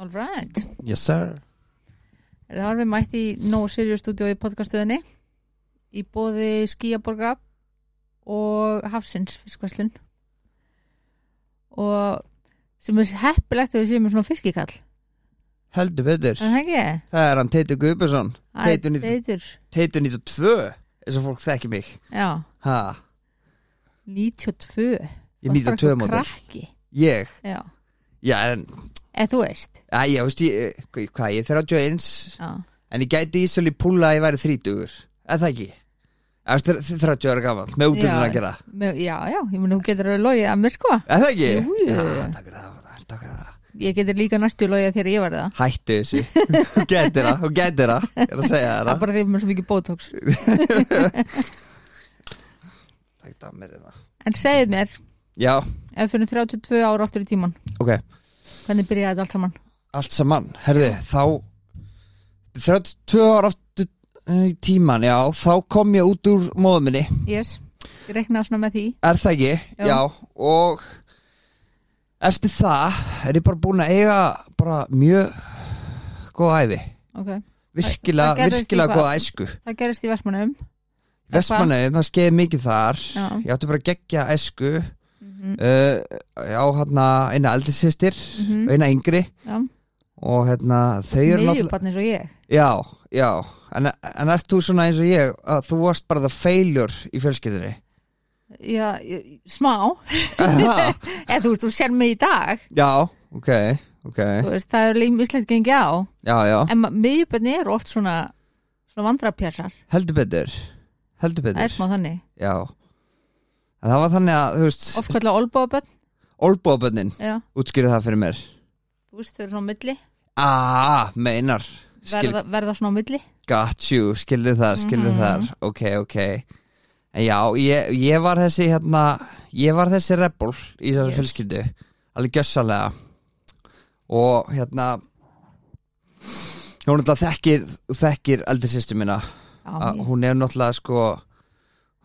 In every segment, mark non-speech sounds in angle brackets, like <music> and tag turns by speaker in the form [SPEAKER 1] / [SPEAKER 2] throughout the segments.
[SPEAKER 1] All right.
[SPEAKER 2] Yes sir
[SPEAKER 1] Er það alveg mætt í No Serious Studio í podcastuðinni í bóði Skíaborga og Hafsins fiskvæslun og sem er heppilegt að við séum með svona fiskikall
[SPEAKER 2] Heldur betur
[SPEAKER 1] Er það ekki?
[SPEAKER 2] Það er hann Teitur Guðbjörnsson
[SPEAKER 1] Æ,
[SPEAKER 2] Teitur 90
[SPEAKER 1] Teitur
[SPEAKER 2] Teitur 92 eins og fólk þekki mig
[SPEAKER 1] Já,
[SPEAKER 2] Ha
[SPEAKER 1] 92
[SPEAKER 2] Ég er 92 mótur
[SPEAKER 1] Krakki
[SPEAKER 2] Ég
[SPEAKER 1] Já,
[SPEAKER 2] Já en
[SPEAKER 1] eða þú veist
[SPEAKER 2] Æ, ég veist ég Hvað hvað, ég er 31
[SPEAKER 1] Já,
[SPEAKER 2] En ég gæti ísölu púla að ég væri 30 Er það ekki? Ég veist þr- 30 ára gamall Með útlöfnir að gera
[SPEAKER 1] Mö- já, já ég meni þú getur að logið að mér sko
[SPEAKER 2] Er það ekki?
[SPEAKER 1] Jú, jú.
[SPEAKER 2] Já, takk fyrir það, takk fyrir það
[SPEAKER 1] Ég getur líka næstu logið þegar ég var það <laughs>
[SPEAKER 2] Hættu þessu Þú getur það, þú getur það Ég er að segja þér
[SPEAKER 1] Það er
[SPEAKER 2] það
[SPEAKER 1] bara því að mér er svo mikið botox
[SPEAKER 2] Takk það mér það
[SPEAKER 1] En segðu mér,
[SPEAKER 2] Já,
[SPEAKER 1] ef við fyrir 32 ára áttur í tíman
[SPEAKER 2] ok
[SPEAKER 1] Hvernig byrjaði þetta allt saman?
[SPEAKER 2] Allt saman, herði, þá 32 ára aftur eh, í tíman, já, þá kom ég út úr móðum minni,
[SPEAKER 1] Yes, ég reiknaði svona með því
[SPEAKER 2] er það ekki?
[SPEAKER 1] Já.
[SPEAKER 2] og eftir það er ég bara búin að eiga bara mjög góða æfi,
[SPEAKER 1] okay.
[SPEAKER 2] virkilega,
[SPEAKER 1] Það- það gerðist
[SPEAKER 2] virkilega
[SPEAKER 1] eitthvað.
[SPEAKER 2] góða æsku
[SPEAKER 1] Það gerist í Vestmannum
[SPEAKER 2] Vestmannaðið, það skeiði mikið þar
[SPEAKER 1] Já.
[SPEAKER 2] Ég átti bara geggja æsku uh, Á hérna eina eldri sýstir
[SPEAKER 1] Mhm.
[SPEAKER 2] Eina yngri Og hérna þau eru náttúrulega
[SPEAKER 1] Miðjubarn eins og ég
[SPEAKER 2] Já, já En, en ert þú svona eins og ég að Þú varst bara það failure í
[SPEAKER 1] <laughs>
[SPEAKER 2] fjölskyldinni
[SPEAKER 1] Já, ég- smá
[SPEAKER 2] Aha,
[SPEAKER 1] Eða þú veist, þú sér mig í dag
[SPEAKER 2] Já, ok, ok
[SPEAKER 1] Þú veist, það er límislegt gengið á
[SPEAKER 2] Já, já,
[SPEAKER 1] En miðjubarni eru oft svona svona vandrapjarsar,
[SPEAKER 2] heldur betur Heldur
[SPEAKER 1] það er
[SPEAKER 2] betur
[SPEAKER 1] smá þannig
[SPEAKER 2] Já En það var þannig að, þú veist
[SPEAKER 1] Oft kallar olbóðabönn,
[SPEAKER 2] Olbóabönnin,
[SPEAKER 1] já
[SPEAKER 2] útskýrðu það fyrir mér
[SPEAKER 1] Þú veist, þau eru svona á milli,
[SPEAKER 2] Ah, meinar Skil-
[SPEAKER 1] verða, verða svona á milli
[SPEAKER 2] Got you, skildi þar, skildi
[SPEAKER 1] Mhm.
[SPEAKER 2] þar Ok, ok En já, ég, ég var þessi hérna Ég var þessi rebel í þessari
[SPEAKER 1] Yes.
[SPEAKER 2] fjölskyldu Alveg gjössalega Og hérna Hún náttúrulega þekkir Þekkir eldri sýstu mína
[SPEAKER 1] Já,
[SPEAKER 2] að
[SPEAKER 1] ég,
[SPEAKER 2] Hún er náttúrulega sko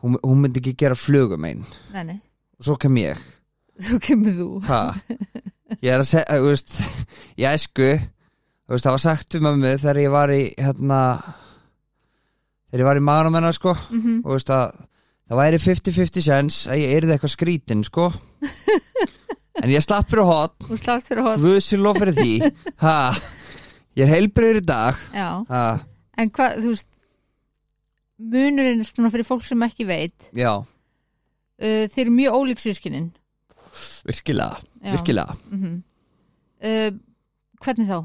[SPEAKER 2] Hún, hún myndi ekki gera flugum einn
[SPEAKER 1] nei, nei,
[SPEAKER 2] Og svo kem ég
[SPEAKER 1] þú kemur þú
[SPEAKER 2] Hva? Ég er að segja, þú veist Ég æsku, þú veist, það var sagt við mömmu þegar ég var í, hérna þegar ég var í maðurum hennar, sko
[SPEAKER 1] mm -hmm.
[SPEAKER 2] og þú veist að það væri 50-50 sens að ég erði eitthvað skrítin, sko en ég slapp fyrir hot
[SPEAKER 1] Þú slást þér á hóð
[SPEAKER 2] vöðsilof fyrir því ha, ég er heilbreyður í dag
[SPEAKER 1] Já,
[SPEAKER 2] ha,
[SPEAKER 1] en hvað, þú veist munurinn svona fyrir fólk sem ekki veit
[SPEAKER 2] já,
[SPEAKER 1] uh, þeir eru mjög ólík sískinin
[SPEAKER 2] virkilega virkilega,
[SPEAKER 1] mm uh, hvernig þá?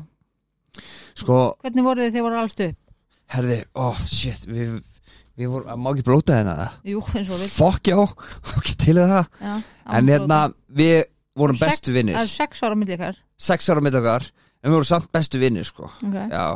[SPEAKER 2] sko,
[SPEAKER 1] hvernig voru þið þeir voru allstu?
[SPEAKER 2] herði oh shit, við, við vorum, má ekki blóta hérna það
[SPEAKER 1] Jú, eins og við
[SPEAKER 2] fokk já, fokk til í það
[SPEAKER 1] já,
[SPEAKER 2] en hérna, við vorum
[SPEAKER 1] Sex-
[SPEAKER 2] bestu
[SPEAKER 1] það er
[SPEAKER 2] vinnir
[SPEAKER 1] sex ára milli ykkar
[SPEAKER 2] sex ára mitt okkar, en við vorum samt bestu vinnir sko,
[SPEAKER 1] okay.
[SPEAKER 2] já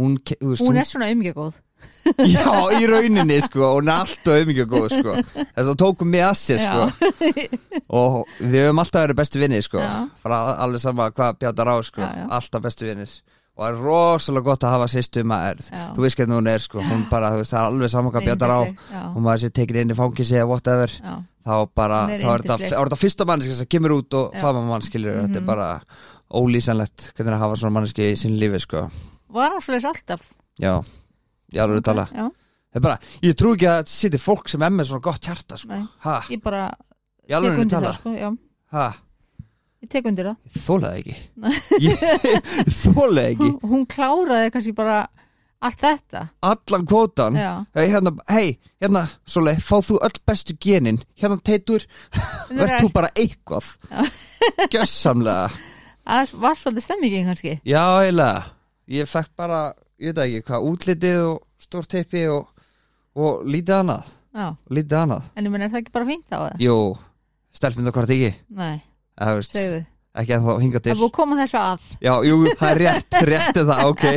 [SPEAKER 2] hún, ke- þú veist,
[SPEAKER 1] hún er svona umgegóð
[SPEAKER 2] <laughs> Já, í rauninni sko og hún er alltaf umhengið góð sko þess að hún tók mig að sér sko
[SPEAKER 1] <laughs>
[SPEAKER 2] og við höfum alltaf verið bestu vinnir sko
[SPEAKER 1] Já.
[SPEAKER 2] frá alveg sama hvað bjátar á sko
[SPEAKER 1] Já, já.
[SPEAKER 2] alltaf bestu vinnir og það er rosalega gott að hafa sýstu maður
[SPEAKER 1] Já.
[SPEAKER 2] þú veist hvernig hún er sko hún bara, þú veist, það er alveg sama hvað bjátar á
[SPEAKER 1] já,
[SPEAKER 2] hún maður sér tekin inn í fangis eða whatever
[SPEAKER 1] já,
[SPEAKER 2] þá bara,
[SPEAKER 1] Hún er
[SPEAKER 2] þá er
[SPEAKER 1] yndisleg.
[SPEAKER 2] þetta- þá er þetta fyrsta manneski sem kemur út og
[SPEAKER 1] Já. Mhm.
[SPEAKER 2] faman mannskilur mm þetta er bara ólýsanlegt hvernig að hafa svona manneski í sín lífi sko
[SPEAKER 1] var hún svolítið alltaf
[SPEAKER 2] já, já, alveg tala
[SPEAKER 1] já,
[SPEAKER 2] Það er bara, ég trú ekki að þetta sittir fólk sem er með svona gott hjarta sko.
[SPEAKER 1] Nei.
[SPEAKER 2] ha,
[SPEAKER 1] ég bara
[SPEAKER 2] ég
[SPEAKER 1] tek
[SPEAKER 2] alveg henni
[SPEAKER 1] undir
[SPEAKER 2] tala
[SPEAKER 1] það sko, já,
[SPEAKER 2] ha,
[SPEAKER 1] ég tek undir það
[SPEAKER 2] ég þólaði
[SPEAKER 1] <laughs>
[SPEAKER 2] ekki ég, ég <laughs> þólaði ekki
[SPEAKER 1] hún, hún kláraði kannski bara allt þetta
[SPEAKER 2] allan kvótan
[SPEAKER 1] já,
[SPEAKER 2] hei, hérna, hey, hérna, svoleið, fá þú öll bestu genin hérna teitur, <laughs>
[SPEAKER 1] Þetta er
[SPEAKER 2] verð þú bara eitthvað
[SPEAKER 1] <laughs>
[SPEAKER 2] gjössamlega
[SPEAKER 1] það var svolítið stemmingin kannski
[SPEAKER 2] já, eiginlega, ég fekk bara ég veit ekki hvað, útlitið og stór teipi og, og lítið annað
[SPEAKER 1] já,
[SPEAKER 2] lítið annað,
[SPEAKER 1] en ég menn er það ekki bara fínt á það
[SPEAKER 2] jú stelpmynda hvort ekki,
[SPEAKER 1] nei,
[SPEAKER 2] eða, þú veist,
[SPEAKER 1] segðu
[SPEAKER 2] ekki að þá hinga til
[SPEAKER 1] það er búið að koma þessu að
[SPEAKER 2] Já, jú, það er rétt,
[SPEAKER 1] <laughs>
[SPEAKER 2] rétt er það, ok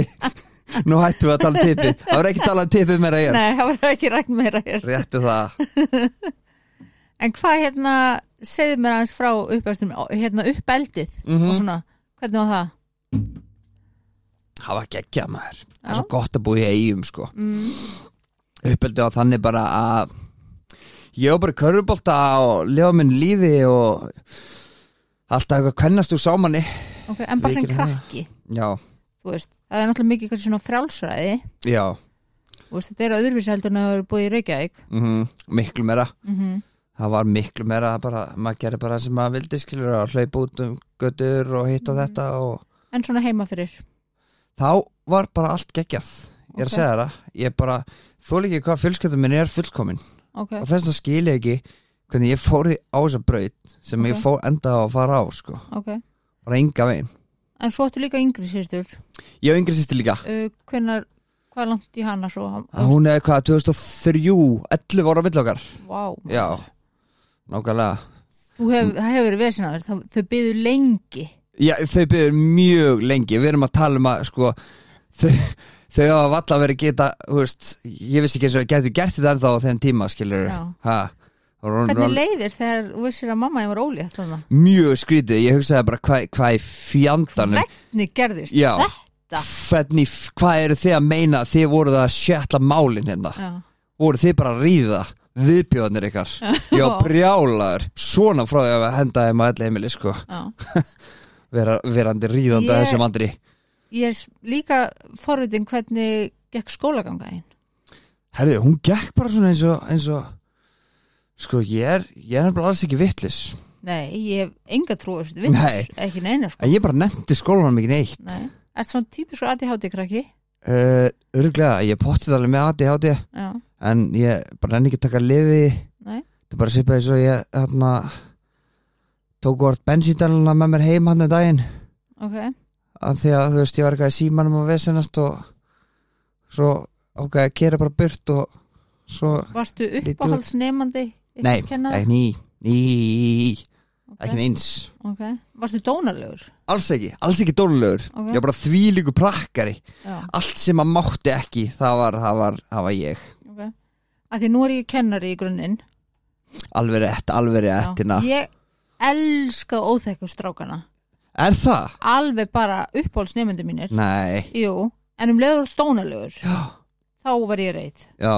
[SPEAKER 2] Nú hættum við að tala um tippið Það var ekki talað um tippið meira ég
[SPEAKER 1] nei, það var ekki rætt meira hér
[SPEAKER 2] Rétt er það
[SPEAKER 1] En hvað hérna, segðu mér aðeins frá uppeldum, hérna uppeldið
[SPEAKER 2] Mhm.
[SPEAKER 1] og svona, hvernig var það?
[SPEAKER 2] Það var geggja maður Það
[SPEAKER 1] Já.
[SPEAKER 2] er svo gott að búa í eigum, sko
[SPEAKER 1] Mm,
[SPEAKER 2] Uppeldi á þannig bara að Ég var bara í körfubolta og lifa minn lífi og Alltaf eitthvað kvennast úr sámanni
[SPEAKER 1] ok, okay, en bara sem
[SPEAKER 2] Lykil hana.
[SPEAKER 1] krakki
[SPEAKER 2] já,
[SPEAKER 1] þú veist, það er náttúrulega mikið kannski svona frjálsræði
[SPEAKER 2] já
[SPEAKER 1] þú veist, þetta er öðruvísi heldur en að það eru búið í Reykjavík
[SPEAKER 2] mm miklu meira
[SPEAKER 1] mm
[SPEAKER 2] Mhm. það var miklu meira að bara, maður gerði bara sem maður vildi skilur að hlaupa út um götur og hitt og
[SPEAKER 1] Mhm.
[SPEAKER 2] þetta og
[SPEAKER 1] en svona heima fyrir
[SPEAKER 2] þá var bara allt geggjað ég er
[SPEAKER 1] Ok.
[SPEAKER 2] að segja það, ég bara þóli ekki hvað fjölskyldum minn er fullkomin
[SPEAKER 1] ok,
[SPEAKER 2] og þess að skil ég ekki hvernig ég fór í á þessa braut sem
[SPEAKER 1] Ok.
[SPEAKER 2] ég fór enda á að fara á sko,
[SPEAKER 1] ok
[SPEAKER 2] bara enga veginn
[SPEAKER 1] en svo áttu líka yngri sýstur
[SPEAKER 2] ég og yngri sýstu líka
[SPEAKER 1] uh, hvenar, hvað er langt í hana svo
[SPEAKER 2] Að hún er hvað, 2003, 11 ára á milli okkar
[SPEAKER 1] wow,
[SPEAKER 2] já, nákvæmlega
[SPEAKER 1] hef, það hefur verið vesinn á þér það- þau byðu lengi
[SPEAKER 2] Já, þau byrður mjög lengi Við erum að tala um að sko Þau, þau hafa valla verið geta þú veist, Ég vissi ekki eins og þau getur gert þetta ennþá á þeim tíma skilur
[SPEAKER 1] Já.
[SPEAKER 2] ha, rón,
[SPEAKER 1] hvernig leiðir þegar þú vissir að mamma ég var ólétt þannig
[SPEAKER 2] Mjög skrítið, ég hugsaði bara hvað hvað í fjandanum
[SPEAKER 1] hvernig gerðist
[SPEAKER 2] Já.
[SPEAKER 1] þetta
[SPEAKER 2] Hvernig, f- hvað eru þið að meina Þið voruð að sjötla málin hérna
[SPEAKER 1] já,
[SPEAKER 2] Voruð þið bara að ríða Viðbjóðnir ykkar Já, brjálaður, svona frá því að henda þeim á allir heimili sko
[SPEAKER 1] já.
[SPEAKER 2] Vera, Verandi
[SPEAKER 1] Ég-
[SPEAKER 2] ríðandi að þessum andri
[SPEAKER 1] ég er s- líka forvitin hvernig gekk skólaganga einn
[SPEAKER 2] Herðu, hún gekk bara svona eins og, eins og Sko, ég er Ég er nefnilega alls ekki vittlis
[SPEAKER 1] nei, ég hef enga trú á þessu vinn
[SPEAKER 2] Nei,
[SPEAKER 1] ekki neina sko
[SPEAKER 2] en ég bara nefndi skólanum ekki neitt
[SPEAKER 1] nei. er svona típiskur ADHD krakki
[SPEAKER 2] uh, Örglega, ég pottið alveg með aði hátti
[SPEAKER 1] já,
[SPEAKER 2] En ég bara nefndi ekki að taka lifi
[SPEAKER 1] nei,
[SPEAKER 2] Það er bara svipaði svo ég hérna, Tóku orð bensíndalina með mér heim hann um daginn
[SPEAKER 1] ok
[SPEAKER 2] af Því að þú veist, ég var eitthvað í símanum að vesenast Og svo ákveði að gera bara burt Og svo,
[SPEAKER 1] varstu
[SPEAKER 2] út.
[SPEAKER 1] uppáhaldsnemandi
[SPEAKER 2] nei,
[SPEAKER 1] ykkurskennara?
[SPEAKER 2] ekki ný Ný, ekki
[SPEAKER 1] ok,
[SPEAKER 2] neins
[SPEAKER 1] ok varstu dónalegur
[SPEAKER 2] Alls ekki, alls ekki dónulegur
[SPEAKER 1] Ok.
[SPEAKER 2] Ég var bara þvílíku prakkari
[SPEAKER 1] já,
[SPEAKER 2] Allt sem að mátti ekki, það var, það var, það var ég
[SPEAKER 1] ok að því nú er ég kennari í grunninn
[SPEAKER 2] Alveg rétt, hérna. alveg
[SPEAKER 1] Já.
[SPEAKER 2] réttina
[SPEAKER 1] ég elska óþekku strákana
[SPEAKER 2] Er það?
[SPEAKER 1] alveg bara uppáhaldsnefndi mínir
[SPEAKER 2] Nei,
[SPEAKER 1] jú, en um leiður stónalegur
[SPEAKER 2] já,
[SPEAKER 1] þá var ég reyð,
[SPEAKER 2] já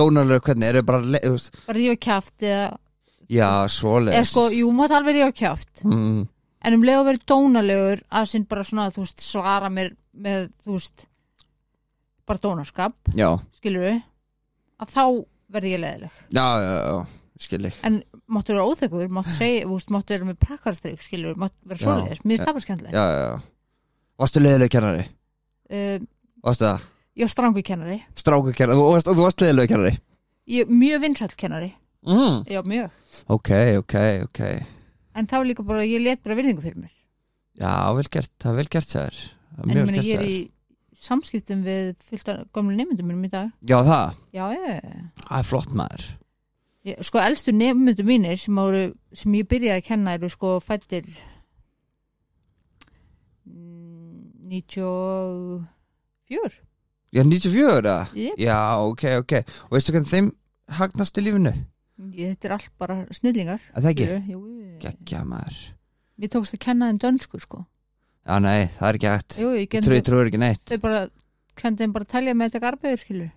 [SPEAKER 2] Dónulegur hvernig, eru bara le... þú veist,
[SPEAKER 1] bara rífa kjaft eða,
[SPEAKER 2] Já,
[SPEAKER 1] eða
[SPEAKER 2] svoleiðis
[SPEAKER 1] sko, jú, mátt alveg rífa kjaft
[SPEAKER 2] mm,
[SPEAKER 1] en um leiður verið dónalegur að sinn bara svona, þú veist, svara mér með, þú veist bara dónaskap,
[SPEAKER 2] Já,
[SPEAKER 1] skilur við að þá verði ég leiðileg
[SPEAKER 2] já, já, já Skil ég
[SPEAKER 1] en máttu vera óþekur, máttu segja, þú veist, máttu vera með prakkarstrik, skilur við, máttu vera
[SPEAKER 2] Já.
[SPEAKER 1] svoleiðis mér stafar skemmtileg
[SPEAKER 2] Já, já, já Varstu leiðilegu kennari?
[SPEAKER 1] uh,
[SPEAKER 2] Varstu það?
[SPEAKER 1] ég er strangu kennari
[SPEAKER 2] Stráku kennari, þú varst, þú varst leiðilegu kennari?
[SPEAKER 1] ég er mjög vinsall kennari
[SPEAKER 2] Mm.
[SPEAKER 1] já, mjög,
[SPEAKER 2] Ok, ok, ok
[SPEAKER 1] en þá er líka bara ég let bara virðingu fyrir mér
[SPEAKER 2] Já, vel gert, það er vel gert sér Það er
[SPEAKER 1] en ég
[SPEAKER 2] mjög vel
[SPEAKER 1] meina
[SPEAKER 2] gert
[SPEAKER 1] ég er
[SPEAKER 2] sér
[SPEAKER 1] í samskiptum við fullt af gamlu nefndum mínum í dag
[SPEAKER 2] Já, það,
[SPEAKER 1] já, já, já,
[SPEAKER 2] það er flott maður
[SPEAKER 1] ég, sko elstu nefndum mínir sem, áru, sem ég byrjaði að kenna eru sko fættir 94
[SPEAKER 2] Já, 94 eða?
[SPEAKER 1] Jep.
[SPEAKER 2] Já, ok, ok Og veistu hvernig þeim hagnast í lífinu?
[SPEAKER 1] ég, þetta er allt bara snillingar
[SPEAKER 2] Að það ekki?
[SPEAKER 1] skilurðu, jú, jú.
[SPEAKER 2] Gekkja maður
[SPEAKER 1] ég tókst að kenna þeim dönsku sko
[SPEAKER 2] Já, nei, það er ekki hægt
[SPEAKER 1] jú, ég
[SPEAKER 2] Ég trúi,
[SPEAKER 1] kenna
[SPEAKER 2] ég trúi ekki neitt
[SPEAKER 1] þau bara kenna þeim bara að telja með þetta garbiður skilur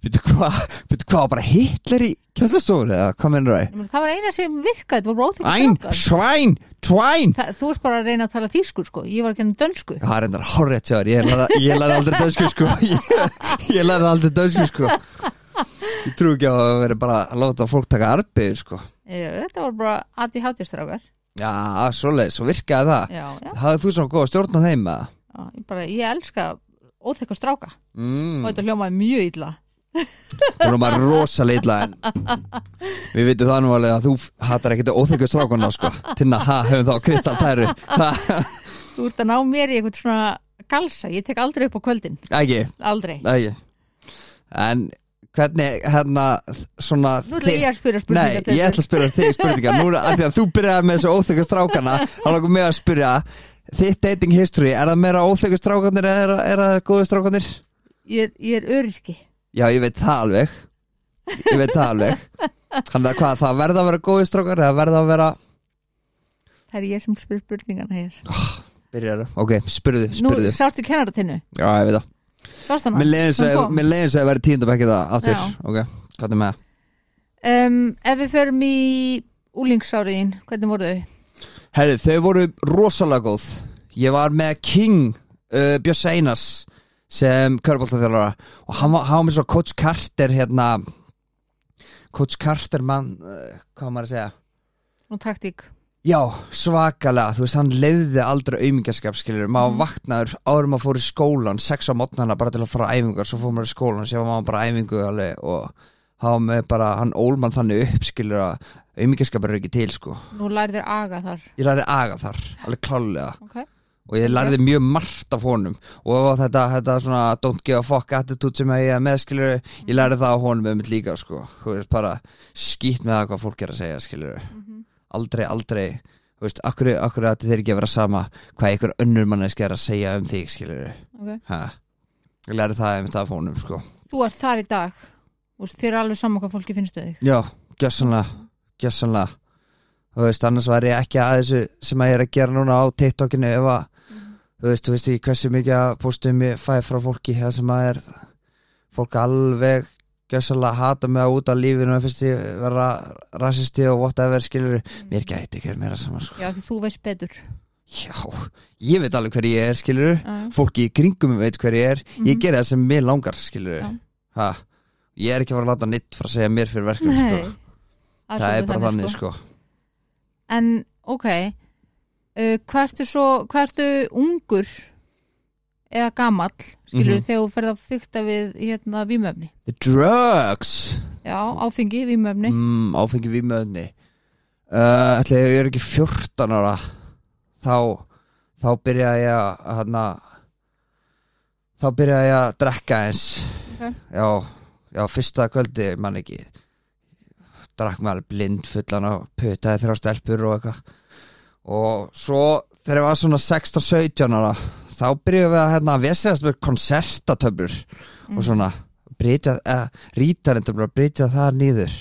[SPEAKER 2] Býttu hvað, býttu hvað, var bara Hitler í kjæslastofun eða, hvað mennur það?
[SPEAKER 1] Meina, það var eina sem virkaði, það var bara óþekkt
[SPEAKER 2] Ein,
[SPEAKER 1] strákar.
[SPEAKER 2] svæn, tvæn
[SPEAKER 1] Þa, þú ert bara að reyna að tala þýsku sko, ég var að kenna dönsku
[SPEAKER 2] Já, það er endar horrið tjóðar, ég lærði ég lærði aldrei dönsku sko <laughs> Ég, ég lærði aldrei dönsku sko Ég trúi ekki á að vera bara að láta fólk taka arbeið sko
[SPEAKER 1] e, þetta var bara aði hátjastrákar
[SPEAKER 2] Já, svoleiðis, svo virkaði það
[SPEAKER 1] já, já,
[SPEAKER 2] Hafðu þú svona góð að stjórna þeim að
[SPEAKER 1] já, ég bara, ég elska óþekka stráka
[SPEAKER 2] mm.
[SPEAKER 1] og þetta hljómaði mjög illa
[SPEAKER 2] Hún er maður rosalega illa en Við vitum það nú alveg að þú hattar ekkit óþekku strákunna sko Tinna, ha, höfum þá Kristall Tæru Ha,
[SPEAKER 1] þú ert að ná mér í eitthvað svona galsa, ég tek aldrei upp á kvöldin
[SPEAKER 2] Ekki,
[SPEAKER 1] aldrei,
[SPEAKER 2] ekki En hvernig hérna svona
[SPEAKER 1] nú ætla ég að spyrja
[SPEAKER 2] Nei,
[SPEAKER 1] spurningar
[SPEAKER 2] ég ætla að spyrja þig spurningar Núna, af því að þú byrjaði með þessu óþekku strákana Þá langar mig að spyrja Þitt dating history, er það meira óþekku strákanir eða er, er það góðu strákanir?
[SPEAKER 1] ég, er- ég er öryrki
[SPEAKER 2] Já, ég veit það alveg Ég veit það alveg Þannig að hvað, það verða að vera góðu strákar eða verða að vera
[SPEAKER 1] það er ég sem spyr spurningarna hér
[SPEAKER 2] Byrjar, ok, spyrðu,
[SPEAKER 1] nú
[SPEAKER 2] spyrðu
[SPEAKER 1] sástu kennaratinu,
[SPEAKER 2] Já, ég veit það
[SPEAKER 1] sástu hana
[SPEAKER 2] Mér leiðin
[SPEAKER 1] Hún
[SPEAKER 2] svo
[SPEAKER 1] kom.
[SPEAKER 2] mér leiðin svo að vera tíndabækki það aftur
[SPEAKER 1] Já.
[SPEAKER 2] Ok, hvað er með það?
[SPEAKER 1] um, ef við förum í úlingsáriðin, hvernig voru þau?
[SPEAKER 2] Herri, þau voru rosalega góð Ég var með King uh, Björns Einars sem körbóltaþjálfara og hann var, hann var með svo Coach Carter hérna Coach Carter mann, uh, hvað á maður að segja
[SPEAKER 1] og taktík
[SPEAKER 2] Já, svakalega, þú veist, hann lefði aldrei aumingaskap, skiljur, maður vaknaður áður en maður fór í skólan, sex á mótnana bara til að fara á æfingar, svo fór maður í skólan sér var maður bara á æfingu alveg og hann með bara, hann ólmann þannig upp, skiljur að aumingaskap er ekki til, sko
[SPEAKER 1] nú lærðir aga þar
[SPEAKER 2] Ég lærði aga þar, alveg klálega
[SPEAKER 1] okay.
[SPEAKER 2] og ég lærði mjög margt af honum og þetta, þetta svona don't give a fuck attitude sem ég er með skilur ég lærði það af honum um líka sko þú veist bara skýtt með það hvað fólk er að segja skilur aldrei, aldrei þú veist, akkur, akkur að þeir ekki að vera sama hvað einhver önnur manneski er að segja um þig skilur
[SPEAKER 1] Okay.
[SPEAKER 2] ha. ég lærði það um þetta af honum sko
[SPEAKER 1] þú ert þar í dag Þú veist, þér er alveg saman hvað fólki finnst þau þig
[SPEAKER 2] já, gjössanlega gjössanlega þú veist, annars var ég ekki að þessu sem að ég er að gera núna á TikTokinu ef að
[SPEAKER 1] Mhm.
[SPEAKER 2] þú veist, þú veist ekki hversu mikið að postum ég fæ frá fólki það sem að er fólk alveg gjössanlega hata mig að út af lífinu og finnst ég vera rasisti og whatever skilur
[SPEAKER 1] Mhm.
[SPEAKER 2] mér gæti ekki meira saman sko.
[SPEAKER 1] já því þú veist betur
[SPEAKER 2] já, ég veit alveg hver ég er skilur
[SPEAKER 1] uh,
[SPEAKER 2] fólki í kringum mig veit hver ég er ég
[SPEAKER 1] Mhm.
[SPEAKER 2] gera það sem mér langar skilur
[SPEAKER 1] Já.
[SPEAKER 2] ha, ég er ekki að fara að láta neitt frá að segja mér fyrir verkum sko
[SPEAKER 1] nei
[SPEAKER 2] það er bara þannig sko
[SPEAKER 1] en ok uh, hvað ertu svo hvað ertu ungur eða gamall skilur
[SPEAKER 2] Mhm.
[SPEAKER 1] þegar þú ferð að fykta við hérna vímöfni
[SPEAKER 2] The drugs
[SPEAKER 1] já áfengi vímöfni
[SPEAKER 2] mm, áfengi vímöðni uh, ætli ef ég er ekki 14 ára þá þá byrjaði ég að hana, þá byrjaði ég að drekka eins
[SPEAKER 1] Ok.
[SPEAKER 2] já, já, fyrsta kvöldi mann ekki drakk mig alveg blind fullan og putaði þrjá stelpur og eitthvað og svo þegar ég var svona 16-17 ára þá byrjuðum við að hérna vesegast með konsertatöflur
[SPEAKER 1] Mm.
[SPEAKER 2] og svona eh, breytja, eða, rítarendur að breytja það niður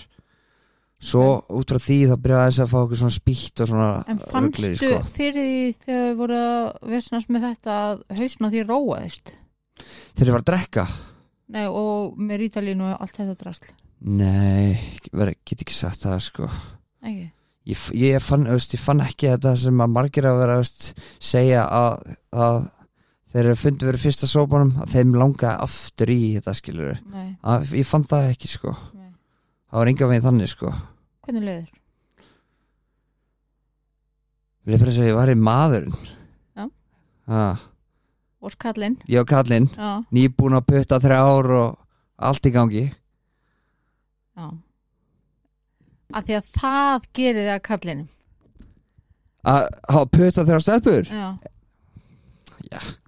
[SPEAKER 2] svo út frá því þá byrjaði aðeins að fá okkur svona spýtt og svona
[SPEAKER 1] en
[SPEAKER 2] ruglir,
[SPEAKER 1] fannstu
[SPEAKER 2] sko.
[SPEAKER 1] fyrir því þegar þau voru að vesnast með þetta að hausna því róaðist
[SPEAKER 2] þegar ég var að drekka
[SPEAKER 1] nei, og með rítalínu og allt þetta drasl
[SPEAKER 2] nei, veri, get ekki sagt það sko
[SPEAKER 1] ekki
[SPEAKER 2] ég, f- ég, fann, þú veist, ég fann ekki þetta sem að margir að vera þú veist, segja að, að þeir eru fundið verið fyrsta sópanum að þeim langaði aftur í þetta skilur
[SPEAKER 1] nei,
[SPEAKER 2] að, ég fann það ekki sko
[SPEAKER 1] nei.
[SPEAKER 2] það var enga veginn þannig sko
[SPEAKER 1] hvernig leiður
[SPEAKER 2] ég er bara eins og ég var í maðurinn
[SPEAKER 1] Já.
[SPEAKER 2] ah,
[SPEAKER 1] og skallinn
[SPEAKER 2] ég og kallinn
[SPEAKER 1] já,
[SPEAKER 2] nýbúin að putta þrjá ár og allt í gangi
[SPEAKER 1] já að því að það gerir það kallinum
[SPEAKER 2] að hafa putta þrjá stelpur
[SPEAKER 1] já,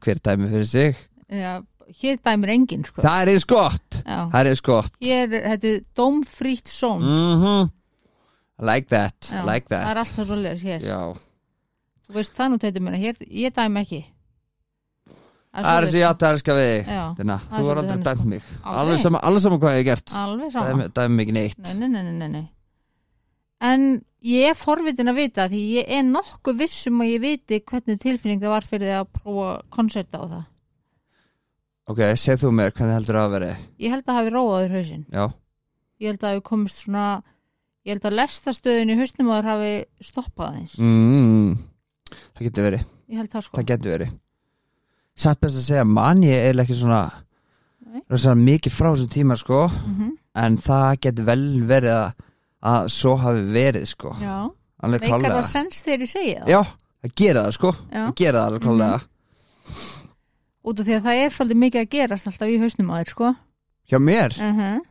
[SPEAKER 2] hver dæmi fyrir sig
[SPEAKER 1] já hér dæmir enginn sko
[SPEAKER 2] það er eins gott
[SPEAKER 1] já,
[SPEAKER 2] það er eins gott
[SPEAKER 1] hér er þetta er dómfrítt són
[SPEAKER 2] mm like that
[SPEAKER 1] Já,
[SPEAKER 2] like that
[SPEAKER 1] það er alltaf svo leiðis hér
[SPEAKER 2] já
[SPEAKER 1] þú veist það nú teitur mér hér, ég dæmi ekki
[SPEAKER 2] það er
[SPEAKER 1] svoleiðis.
[SPEAKER 2] sem ég átti að elska við þig
[SPEAKER 1] já,
[SPEAKER 2] Dina,
[SPEAKER 1] Það er
[SPEAKER 2] þú var
[SPEAKER 1] svolítið
[SPEAKER 2] aldrei
[SPEAKER 1] þannig,
[SPEAKER 2] dæmt
[SPEAKER 1] sko.
[SPEAKER 2] mig
[SPEAKER 1] Aldrei.
[SPEAKER 2] alveg sama, alveg sama hvað ég hef gert
[SPEAKER 1] alveg sama
[SPEAKER 2] dæmi, dæmi mig ekki neitt
[SPEAKER 1] Nei, nei, nei, nei, nei, nei. En ég er forvitin að vita því ég er nokkuð vissum að ég viti hvernig tilfinning það var fyrir því að prófa konserta á það.
[SPEAKER 2] ok, segð þú mér hvernig heldur það að veri
[SPEAKER 1] Ég held að hafi róaður hausinn.
[SPEAKER 2] já,
[SPEAKER 1] Ég held að hafi komist svona, ég held að lestastöðin í hausnum aður hafi stoppað eins.
[SPEAKER 2] mm, það getur verið
[SPEAKER 1] Ég held það sko.
[SPEAKER 2] það getur verið satt best að segja, man ég er ekki svona
[SPEAKER 1] Nei.
[SPEAKER 2] rosa mikið frá þessum tíma sko
[SPEAKER 1] Mm
[SPEAKER 2] en það getur vel verið að, að svo hafi verið sko
[SPEAKER 1] Já,
[SPEAKER 2] alveg
[SPEAKER 1] meikar
[SPEAKER 2] klálega
[SPEAKER 1] það sens þegar ég segi það.
[SPEAKER 2] já, það gera það sko
[SPEAKER 1] Já. Mhm.
[SPEAKER 2] það gera það alveg klálega
[SPEAKER 1] Út af því að það er svolítið mikið að gerast alltaf í hausnum aður sko.
[SPEAKER 2] hjá mér
[SPEAKER 1] Uh -huh.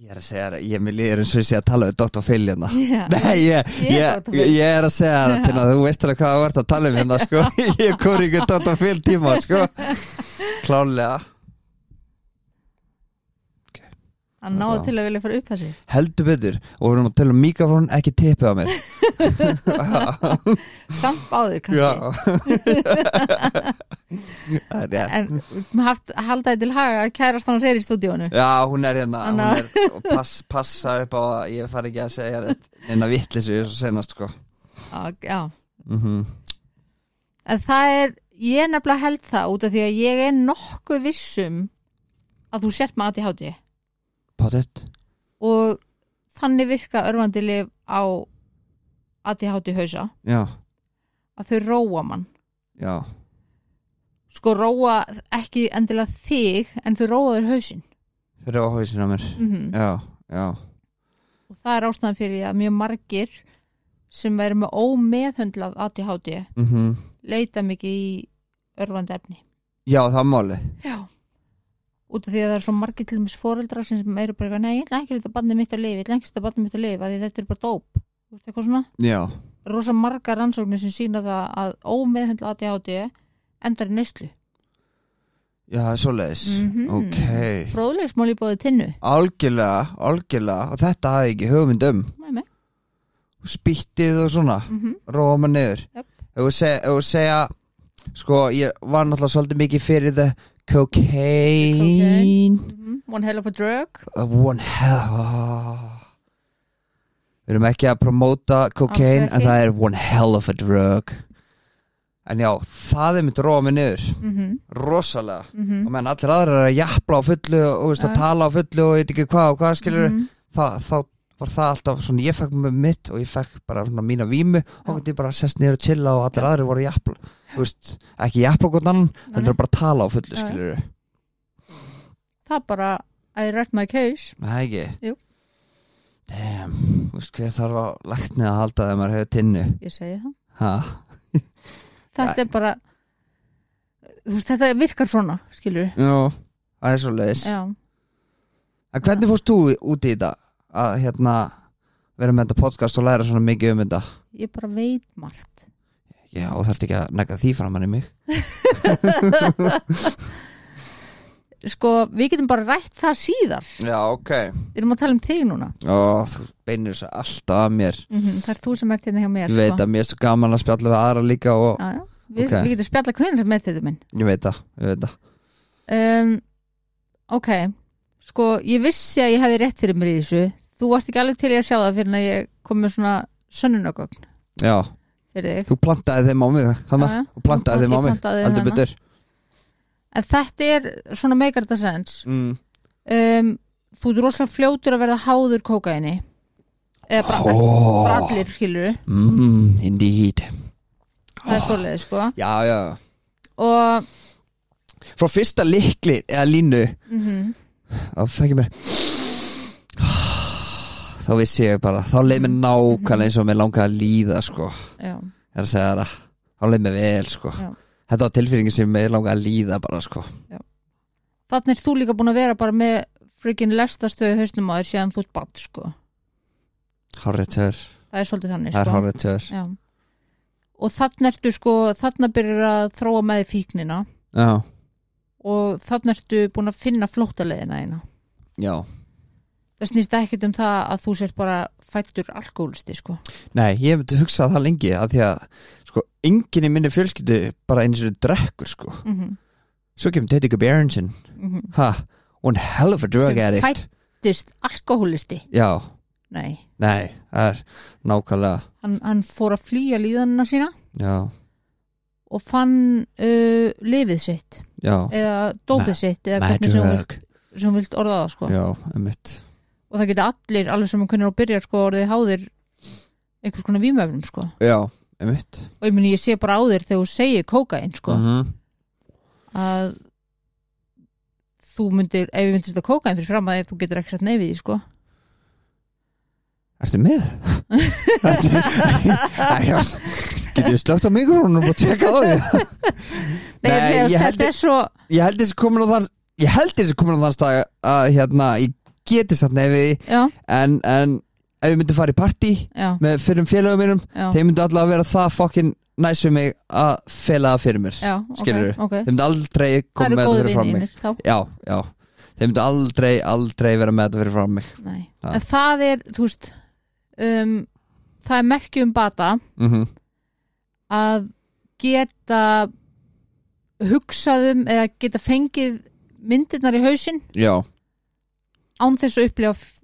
[SPEAKER 2] ég er að segja það, ég mér líður eins og ég sé að tala við Dr. Phil hérna
[SPEAKER 1] Já,
[SPEAKER 2] <laughs> Nei, ég,
[SPEAKER 1] Ég er
[SPEAKER 2] ég,
[SPEAKER 1] Dr. Phil.
[SPEAKER 2] ég er að segja það til að þú veist alveg hvað þú ert að tala um hérna
[SPEAKER 1] <laughs>
[SPEAKER 2] sko <laughs> Ég kom ykkur Dr. Phil tíma sko Klálega
[SPEAKER 1] hann náði
[SPEAKER 2] Já.
[SPEAKER 1] til að vilja fara upp þessi.
[SPEAKER 2] Heldur betur og við erum að tala um mikrofón ekki tippið á mér
[SPEAKER 1] Samt báður kannski.
[SPEAKER 2] <laughs>
[SPEAKER 1] <laughs>
[SPEAKER 2] Já Það er rétt
[SPEAKER 1] en haft, haldaði til haga að kærast hann sér í stúdíónu
[SPEAKER 2] Já, hún er hérna hún
[SPEAKER 1] Anna.
[SPEAKER 2] er, og pass, passa upp á að ég fari ekki að segja þetta en að vitleysu svo senast sko
[SPEAKER 1] já, já.
[SPEAKER 2] mm -hmm.
[SPEAKER 1] en það er, ég er nefnilega held það út af því að ég er nokkuð vissum að þú sért með ADHD
[SPEAKER 2] Pottet
[SPEAKER 1] og þannig virka örvandi lif á ADHD hausa
[SPEAKER 2] Já,
[SPEAKER 1] að þau róa mann
[SPEAKER 2] já,
[SPEAKER 1] sko róa ekki endilega þig en þau róa þér hausinn
[SPEAKER 2] þeir eru á hausinu á mér
[SPEAKER 1] mm
[SPEAKER 2] já, já,
[SPEAKER 1] og það er ástæðan fyrir því að mjög margir sem verður með ómeðhöndlað ADHD
[SPEAKER 2] mhm
[SPEAKER 1] leita mikið í örfandi efni
[SPEAKER 2] já, það er máli
[SPEAKER 1] Já Út af því að það er svo margir til þess foreldrar sem eru bara eitthvað, nei, ég ætla ekki að þetta bandið mitt að lifa, ég ætla ekki að þetta bandið mitt að lifa, af því þetta er bara dóp. Þú veist eitthvað svona?
[SPEAKER 2] já,
[SPEAKER 1] Rosa margar rannsóknir sem sína það að ómeðhundla ADHD endar í neyslu.
[SPEAKER 2] já, það er svoleiðis
[SPEAKER 1] Mhm.
[SPEAKER 2] ok,
[SPEAKER 1] Fróðlegsmál í bóði tinnu.
[SPEAKER 2] algjörlega, algjörlega og þetta hafði ég ekki hugmynd um
[SPEAKER 1] Nei, nei.
[SPEAKER 2] spýttið og svona
[SPEAKER 1] Mm -hmm.
[SPEAKER 2] róa maður niður
[SPEAKER 1] Jöp.
[SPEAKER 2] ef þú segja, ef þú segja sko, ég var náttúrulega svolítið mikið fyrir the cocaine
[SPEAKER 1] Mhm. One hell of a drug.
[SPEAKER 2] uh, one hell við erum ekki að promóta cocaine
[SPEAKER 1] Alls
[SPEAKER 2] en
[SPEAKER 1] ekki.
[SPEAKER 2] það er one hell of a drug en já, það er mitt róa mig niður
[SPEAKER 1] Mm -hmm.
[SPEAKER 2] rosalega
[SPEAKER 1] mhm.
[SPEAKER 2] og menn allir aðrar er að jafla á fullu og þú veist,
[SPEAKER 1] Já.
[SPEAKER 2] að tala á fullu og ég veit ekki hvað og hvað skilur
[SPEAKER 1] -hmm.
[SPEAKER 2] það, þá var það alltaf svona, ég fekk með mitt og ég fekk bara svona mína vímu og gæti ég bara sest niður að chilla og allir aðri voru jafn þú veist, ekki jafn og gott annan heldur bara að tala á fullu,
[SPEAKER 1] Já, já.
[SPEAKER 2] skilur
[SPEAKER 1] Það bara, I read my case.
[SPEAKER 2] Nei, ekki?
[SPEAKER 1] Jú.
[SPEAKER 2] Damn, þú veist, hver þarf að lækni að halda þegar maður hefur tinnu
[SPEAKER 1] Ég segi það.
[SPEAKER 2] ha?
[SPEAKER 1] Þetta er bara, þú veist, þetta virkar svona, skilur við.
[SPEAKER 2] Jú, það er svo leiðis
[SPEAKER 1] Já.
[SPEAKER 2] En hvernig fórst þú út í þetta að hérna vera með þetta podcast og læra svona mikið um þetta
[SPEAKER 1] Ég bara veit margt.
[SPEAKER 2] Já, og þarfst ekki að negga því framan í mig
[SPEAKER 1] sko, við getum bara rætt það síðar
[SPEAKER 2] Já, ok
[SPEAKER 1] við erum að tala um þig núna
[SPEAKER 2] Ó, þú beinir þessu alltaf að mér
[SPEAKER 1] það er þú sem ert hérna hjá mér
[SPEAKER 2] Ég veit að mér er svo gaman að spjalla við aðra líka og
[SPEAKER 1] já, já. Við,
[SPEAKER 2] Ok.
[SPEAKER 1] við getum spjalla hvernig sem ert þetta minn
[SPEAKER 2] ég veit það, ég veit það.
[SPEAKER 1] um, ok sko, ég vissi að ég hefði rétt fyrir mér í þessu þú varst ekki alveg til ég að sjá það fyrir en að ég kom með svona sönnunagögn
[SPEAKER 2] Já,
[SPEAKER 1] fyrir þig
[SPEAKER 2] þú plantaði þeim á mig hana,
[SPEAKER 1] Já, já.
[SPEAKER 2] og plantaði
[SPEAKER 1] Ég
[SPEAKER 2] þeim á mig,
[SPEAKER 1] plantaði
[SPEAKER 2] heldur
[SPEAKER 1] hana.
[SPEAKER 2] betur
[SPEAKER 1] en þetta er svona meikar þetta sens
[SPEAKER 2] mm.
[SPEAKER 1] um, þú ert rosalega fljótur að verða háður kókaini eða bara,
[SPEAKER 2] Ó.
[SPEAKER 1] bara allir skilur
[SPEAKER 2] Oh, Mm, Indeed
[SPEAKER 1] það er svoleiði sko
[SPEAKER 2] Já, já,
[SPEAKER 1] og
[SPEAKER 2] frá fyrsta likli eða línu
[SPEAKER 1] mm
[SPEAKER 2] þá fekk ég mér þá vissi ég bara þá leið mér nákvæmlega eins og mér langaði að líða sko,
[SPEAKER 1] já,
[SPEAKER 2] er að segja það þá leið mér vel sko
[SPEAKER 1] Já.
[SPEAKER 2] þetta var tilfýringin sem mér langaði að líða bara sko
[SPEAKER 1] þannig er þú líka búin að vera bara með frikin lestastöðu hausnum á þér síðan þú ert bát sko.
[SPEAKER 2] Hárréttur,
[SPEAKER 1] það er svolítið þannig
[SPEAKER 2] það er
[SPEAKER 1] sko.
[SPEAKER 2] hárréttur
[SPEAKER 1] Já. og þannig ertu sko þannig byrjar að þróa með þér fíknina
[SPEAKER 2] Já,
[SPEAKER 1] og þannig ertu búin að finna flóttaleðina eina
[SPEAKER 2] já
[SPEAKER 1] það snýst ekkit um það að þú sért bara fættur alkoholisti sko.
[SPEAKER 2] Nei, ég hef hugsað það lengi að því að sko, enginn í minni fjölskyldu bara eins og drekkur sko
[SPEAKER 1] mm -hmm.
[SPEAKER 2] svo kemur Teddy Gubby Aronson
[SPEAKER 1] mhm.
[SPEAKER 2] ha, hún hell of a drug
[SPEAKER 1] Sem
[SPEAKER 2] addict
[SPEAKER 1] fædd- Dist, alkoholisti,
[SPEAKER 2] Já,
[SPEAKER 1] nei
[SPEAKER 2] nei, það er nákvæmlega
[SPEAKER 1] hann, hann fór að flýja líðanina sína
[SPEAKER 2] Já,
[SPEAKER 1] og fann uh, lifið sitt
[SPEAKER 2] já,
[SPEAKER 1] eða dópið
[SPEAKER 2] Ma-
[SPEAKER 1] sitt eða
[SPEAKER 2] my
[SPEAKER 1] hvernig sem þú
[SPEAKER 2] drug
[SPEAKER 1] vilt- sem þú vilt orða það sko.
[SPEAKER 2] Já, emitt
[SPEAKER 1] og það geta allir alveg sem hvernig á að byrja sko orðið háðir einhvers konar vímöfnum sko
[SPEAKER 2] Já, emitt
[SPEAKER 1] og ég meni ég sé bara á þér þegar þú segir kókain sko
[SPEAKER 2] -hmm.
[SPEAKER 1] að þú myndir, ef ég myndir þetta kókain fyrir fram að þér, þú getur ekki satt neyfið því
[SPEAKER 2] <laughs>
[SPEAKER 1] sko
[SPEAKER 2] Ertu
[SPEAKER 1] <laughs>
[SPEAKER 2] með? Getur þið slögt á mikrónum og tjekka á því
[SPEAKER 1] Nei,
[SPEAKER 2] Nei,
[SPEAKER 1] þegar
[SPEAKER 2] ég
[SPEAKER 1] þetta
[SPEAKER 2] held-
[SPEAKER 1] er svo
[SPEAKER 2] Ég held þessi komin á þann Ég held þessi komin á þann stað að hérna, ég geti satt nefið í
[SPEAKER 1] já,
[SPEAKER 2] en, en ef ég myndi fara í partí
[SPEAKER 1] já,
[SPEAKER 2] með fyrir félagum mínum
[SPEAKER 1] já,
[SPEAKER 2] þeir myndu alltaf að vera það fokkin næs við mig að fela það fyrir mér
[SPEAKER 1] já ok,
[SPEAKER 2] Skilurðu?
[SPEAKER 1] ok,
[SPEAKER 2] þeir myndu aldrei
[SPEAKER 1] það
[SPEAKER 2] koma
[SPEAKER 1] eru
[SPEAKER 2] með þetta
[SPEAKER 1] góðu
[SPEAKER 2] fyrir fram mig
[SPEAKER 1] vinninir þá,
[SPEAKER 2] já, já, þeir myndu aldrei, aldrei vera með þetta fyrir fram mig
[SPEAKER 1] nei,
[SPEAKER 2] Já.
[SPEAKER 1] en það er þú veist um, það er merki um bata
[SPEAKER 2] mm -hmm.
[SPEAKER 1] að geta hugsaðum eða geta fengið myndirnar í hausinn
[SPEAKER 2] já,
[SPEAKER 1] án þess að upplifa f-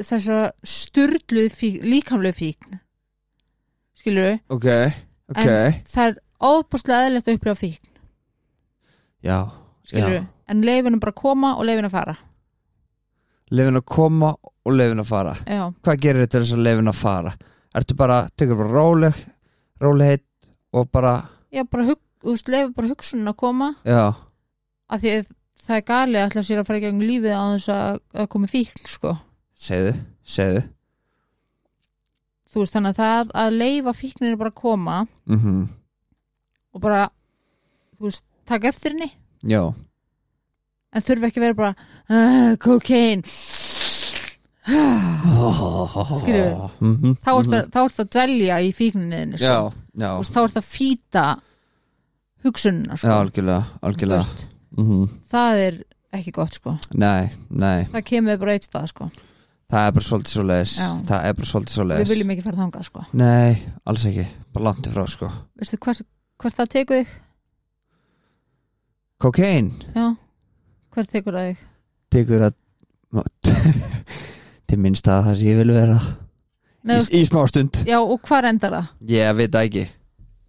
[SPEAKER 1] þessa styrluð fíkn, líkamluð fíkn skilur við
[SPEAKER 2] ok, ok
[SPEAKER 1] það er óbúslega eðlilegt að upplifa fíkn
[SPEAKER 2] já,
[SPEAKER 1] skilur
[SPEAKER 2] já.
[SPEAKER 1] við, en leifinu bara að koma og leifinu að fara
[SPEAKER 2] lefin að koma og lefin að fara
[SPEAKER 1] já,
[SPEAKER 2] hvað gerir þetta þess að lefin að fara ertu bara, tekur bara róleg róleg heitt og bara,
[SPEAKER 1] já, bara hug, úst, lefa bara hugsunin að koma
[SPEAKER 2] já,
[SPEAKER 1] af því að það er galið að ætla sér að fara í gegn lífið á þess að, að komi fíkn sko.
[SPEAKER 2] segðu, segðu
[SPEAKER 1] þú veist þannig að það að leifa fíkninu bara að koma
[SPEAKER 2] mm
[SPEAKER 1] og bara þú veist, taka eftir henni
[SPEAKER 2] já,
[SPEAKER 1] en þurfa ekki að vera bara "Ah, cocaine Skilurðu?
[SPEAKER 2] Mhm,
[SPEAKER 1] þá ert
[SPEAKER 2] mhm.
[SPEAKER 1] það, þá ert það að dvelja í fíkninniðinni sko.
[SPEAKER 2] já, já,
[SPEAKER 1] Þú veist, þá ert það að fýta hugsunina
[SPEAKER 2] já,
[SPEAKER 1] sko.
[SPEAKER 2] algjörlega
[SPEAKER 1] Þú
[SPEAKER 2] algjörlega,
[SPEAKER 1] veist,
[SPEAKER 2] mhm
[SPEAKER 1] það er ekki gott sko.
[SPEAKER 2] nei, nei,
[SPEAKER 1] það kemur bara eitt stað sko.
[SPEAKER 2] það er bara svolítið svo leiðis
[SPEAKER 1] Já.
[SPEAKER 2] það er bara svolítið svo
[SPEAKER 1] við
[SPEAKER 2] leiðis
[SPEAKER 1] viljum ekki fara þangað sko.
[SPEAKER 2] nei, alls ekki, bara langt í frá sko
[SPEAKER 1] Veistu, hvert, hvert það tekur þig
[SPEAKER 2] kokain,
[SPEAKER 1] Já. hvert tekur það þig
[SPEAKER 2] tekur að <laughs> til minnst að það sem ég vil vera
[SPEAKER 1] Nei,
[SPEAKER 2] í, í smá stund
[SPEAKER 1] Já, og hvað endar það?
[SPEAKER 2] Ég veit það ekki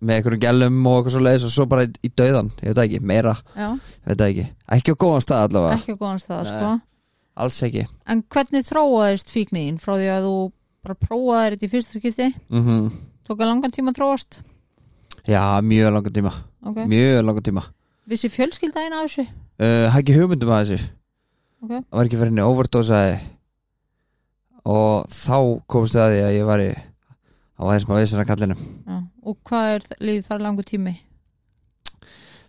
[SPEAKER 2] Með einhverjum gælum og eitthvað svo leiðis og svo bara í, í dauðan Ég veit það ekki, meira,
[SPEAKER 1] Já,
[SPEAKER 2] ég veit það ekki Ekki á góðan stað allavega,
[SPEAKER 1] ekki á góðan stað
[SPEAKER 2] Nei.
[SPEAKER 1] sko.
[SPEAKER 2] alls ekki
[SPEAKER 1] En hvernig þróaðist fíknin frá því að þú bara prófaðir þetta í fyrsta skipti
[SPEAKER 2] mm
[SPEAKER 1] tók að langan tíma að þróast
[SPEAKER 2] Já, mjög langan tíma
[SPEAKER 1] okay.
[SPEAKER 2] Mjög langan tíma
[SPEAKER 1] Vissi fjölskyldaðin af þessu?
[SPEAKER 2] uh, Hæ ekki hugmyndum að þessu
[SPEAKER 1] Ok.
[SPEAKER 2] Það var ekki fyrir henni overdosaði Og þá komst það að því að ég var í Það var eins og maður vissin að kallinum
[SPEAKER 1] Já. Og hvað er líð þar langur tími?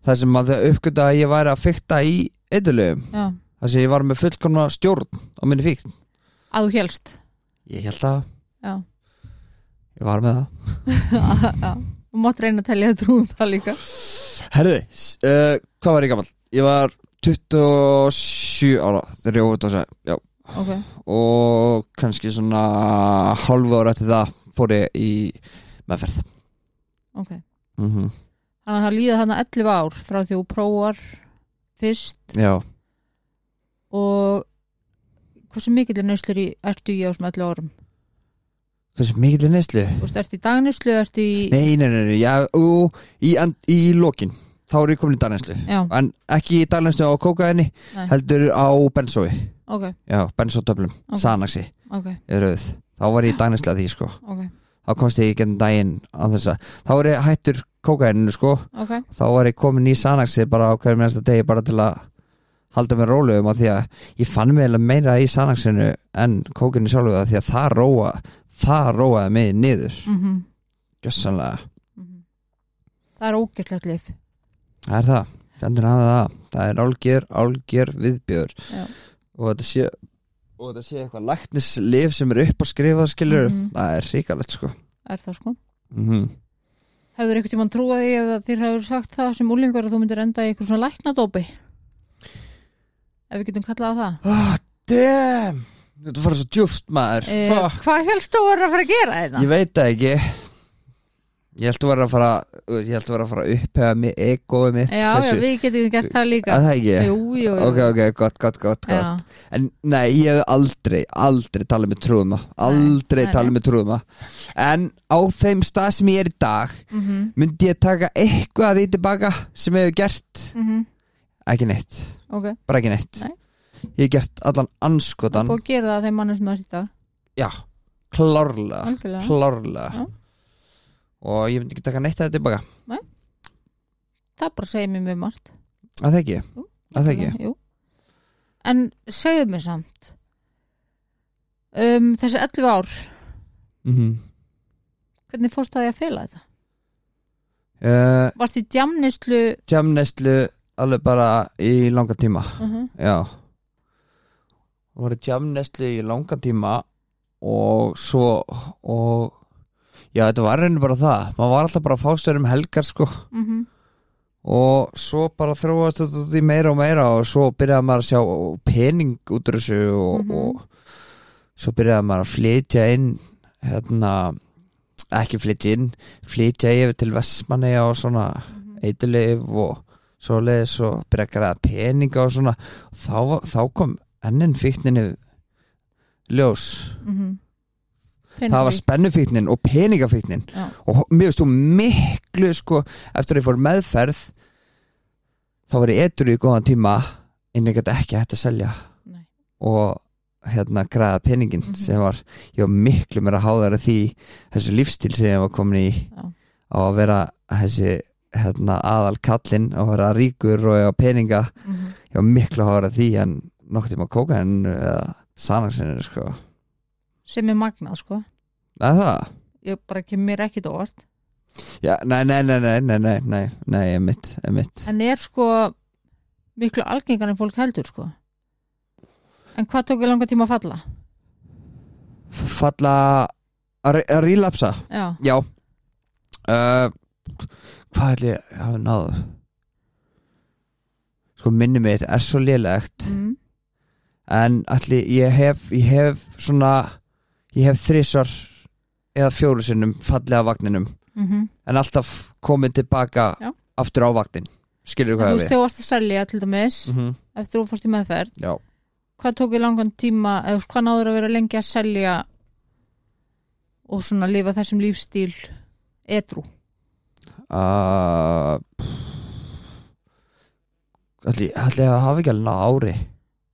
[SPEAKER 2] Það sem að þau uppgönda að ég væri að fykta í eitthulegum
[SPEAKER 1] Já.
[SPEAKER 2] Það sem ég var með fullkomna stjórn á minni fíkt
[SPEAKER 1] Að þú helst
[SPEAKER 2] Ég held að
[SPEAKER 1] Já.
[SPEAKER 2] Ég var með það
[SPEAKER 1] <laughs> Já. Og mátt reyna að telja þetta rúm það líka
[SPEAKER 2] Herðu, s- uh, hvað var ég gammal? Ég var 27 ára þegar ég óvitað sér Já,
[SPEAKER 1] Ok,
[SPEAKER 2] og kannski svona hálfu ára eftir það fór ég í meðferð
[SPEAKER 1] ok
[SPEAKER 2] mm
[SPEAKER 1] Þannig að það líða þarna 11 ár frá því þú prófar fyrst
[SPEAKER 2] Já,
[SPEAKER 1] og hversu mikill er nöslur í ertu í á þessum 11 árum?
[SPEAKER 2] hversu mikill er neyslu?
[SPEAKER 1] Þú veist, ertu í dagnöslu, ertu í
[SPEAKER 2] Nei, nei, nei, nei, já, ú, í, and, í lokin Þá er ég komin í daglænslu
[SPEAKER 1] Já,
[SPEAKER 2] En ekki í daglænslu á kókaðinni
[SPEAKER 1] Nei.
[SPEAKER 2] Heldur á bensói
[SPEAKER 1] ok,
[SPEAKER 2] Já, bensótöflum,
[SPEAKER 1] Ok.
[SPEAKER 2] sanaxi,
[SPEAKER 1] ok,
[SPEAKER 2] rauð Þá var ég í daglænslu að því, sko
[SPEAKER 1] ok,
[SPEAKER 2] Þá komst ég í genn daginn á þess að Þá var ég hættur kókaðinu, sko
[SPEAKER 1] ok
[SPEAKER 2] þá var ég komin í Sanaxi bara á hverjum næsta degi bara til að halda mér rólegum af því að ég fann mig eiginlega meira í Sanaxinu en kókinu sjálfu af því að það róa það róaði mig niður
[SPEAKER 1] mm -hmm.
[SPEAKER 2] gjössanlega,
[SPEAKER 1] Mhm. Það er ógislegt lif
[SPEAKER 2] það er það fjandur hafa það, það er álgjör, álgjör viðbjör
[SPEAKER 1] Já.
[SPEAKER 2] og þetta sé og þetta sé eitthvað læknislif sem er upp að skrifa skilur,
[SPEAKER 1] Mhm.
[SPEAKER 2] það er ríkalegt sko
[SPEAKER 1] Er það sko
[SPEAKER 2] mm
[SPEAKER 1] Hefur einhvern tímann trúað því ef að þér hefur sagt það sem úlingur að þú myndir enda í eitthvað svona læknadópi Ef við getum kallað það
[SPEAKER 2] ah, damn þetta fara svo djúft maður
[SPEAKER 1] Eh,
[SPEAKER 2] fuck
[SPEAKER 1] Hvað helst þú er að fara að gera hérna? þetta?
[SPEAKER 2] Ég veit það ekki Ég held að vera að fara Ég held að vera að fara að upphega mig egoið mitt
[SPEAKER 1] Já, já, við getum gert það líka
[SPEAKER 2] Að það ekki?
[SPEAKER 1] Jú, jú, jú
[SPEAKER 2] Ok, ok, gott, gott, gott, gott.
[SPEAKER 1] Já,
[SPEAKER 2] En nei, ég hef aldrei, aldrei talað með trúðuma
[SPEAKER 1] nei,
[SPEAKER 2] Aldrei
[SPEAKER 1] nei.
[SPEAKER 2] talað með trúðuma En á þeim stað sem ég er í dag
[SPEAKER 1] mhm,
[SPEAKER 2] Myndi ég taka eitthvað að því tilbaka Sem ég hef gert
[SPEAKER 1] mhm,
[SPEAKER 2] Ekki neitt,
[SPEAKER 1] ok
[SPEAKER 2] bara ekki neitt
[SPEAKER 1] Nei.
[SPEAKER 2] Ég hef gert allan
[SPEAKER 1] Það er
[SPEAKER 2] anskotan
[SPEAKER 1] búið að gera það að þeim mannum sem það sýta
[SPEAKER 2] Já, klárlega
[SPEAKER 1] Algjörlega
[SPEAKER 2] Klárlega
[SPEAKER 1] Já.
[SPEAKER 2] Og ég myndi ekki taka neitt að þetta tilbaka
[SPEAKER 1] Það bara segir mér mjög margt
[SPEAKER 2] Að það ekki?
[SPEAKER 1] Jú,
[SPEAKER 2] Að það ekki?
[SPEAKER 1] Jú. En segðu mér samt um, Þessi 11 ár
[SPEAKER 2] Mm
[SPEAKER 1] Hvernig fórst það í að fela þetta?
[SPEAKER 2] uh,
[SPEAKER 1] Varst í djamnislu
[SPEAKER 2] Tjamneslu alveg bara í langa tíma
[SPEAKER 1] uh -huh.
[SPEAKER 2] Já voru tjamneslu í langa tíma og svo og já þetta var reyni bara það maður var alltaf bara að fást verið um helgar sko
[SPEAKER 1] Uh
[SPEAKER 2] og svo bara þróast þetta út í meira og meira og svo byrjaði maður að sjá pening út úr þessu og,
[SPEAKER 1] Mhm.
[SPEAKER 2] og svo byrjaði maður að flytja inn hérna ekki flytja inn, flytja yfir til Vestmanni og svona eitilif og svo leiðis og byrja að græða peninga og svona þá, var- þá kom ennin fíkninni ljós
[SPEAKER 1] Mhm.
[SPEAKER 2] það var spennufíknin og peningafíknin
[SPEAKER 1] Já.
[SPEAKER 2] og mér veist þú miklu sko, eftir að ég fór meðferð þá var ég etur í góðan tíma en ég gæti ekki hægt að selja
[SPEAKER 1] Nei.
[SPEAKER 2] og hérna græða peningin
[SPEAKER 1] Mhm.
[SPEAKER 2] sem var, ég var miklu mér að háðara því þessu lífstíl sem ég var komin í
[SPEAKER 1] Já.
[SPEAKER 2] á á að vera þessi hérna, aðal kallinn á að vera ríkur og á peninga
[SPEAKER 1] Mhm.
[SPEAKER 2] ég var miklu að hóra því en nokkuð tíma kóka en eða sanagsinu sko
[SPEAKER 1] sem er magnað sko
[SPEAKER 2] Nei það?
[SPEAKER 1] ég bara kemur mér ekkit óvart
[SPEAKER 2] Já, nei, nei, nei, nei, nei, nei, nei, nei, ég mitt, ég mitt
[SPEAKER 1] en er sko miklu algengar en fólk heldur sko en hvað tók ég langa tíma að falla?
[SPEAKER 2] Falla að re- að relapsa
[SPEAKER 1] já,
[SPEAKER 2] Já uh, Hvað ætli ég hafa náð Sko minni mitt er svo lélegt
[SPEAKER 1] mm.
[SPEAKER 2] En ætli ég hef Ég hef svona Ég hef þrisvar eða fjóru sinnum fallið af vagninum
[SPEAKER 1] Mm
[SPEAKER 2] En alltaf komið tilbaka
[SPEAKER 1] Já.
[SPEAKER 2] Aftur á vagnin Skilur
[SPEAKER 1] þú
[SPEAKER 2] hvað
[SPEAKER 1] veist
[SPEAKER 2] við
[SPEAKER 1] þegar þú varst að selja til dæmis
[SPEAKER 2] mm -hmm.
[SPEAKER 1] eftir þú fórst í meðferð
[SPEAKER 2] Já
[SPEAKER 1] hvað tók ég langan tíma eða þú veist, hvað náður að vera lengi að selja og svona lifa þessum lífstíl edru
[SPEAKER 2] uh, Ætli, ætli ég hafa ekki alveg náð ári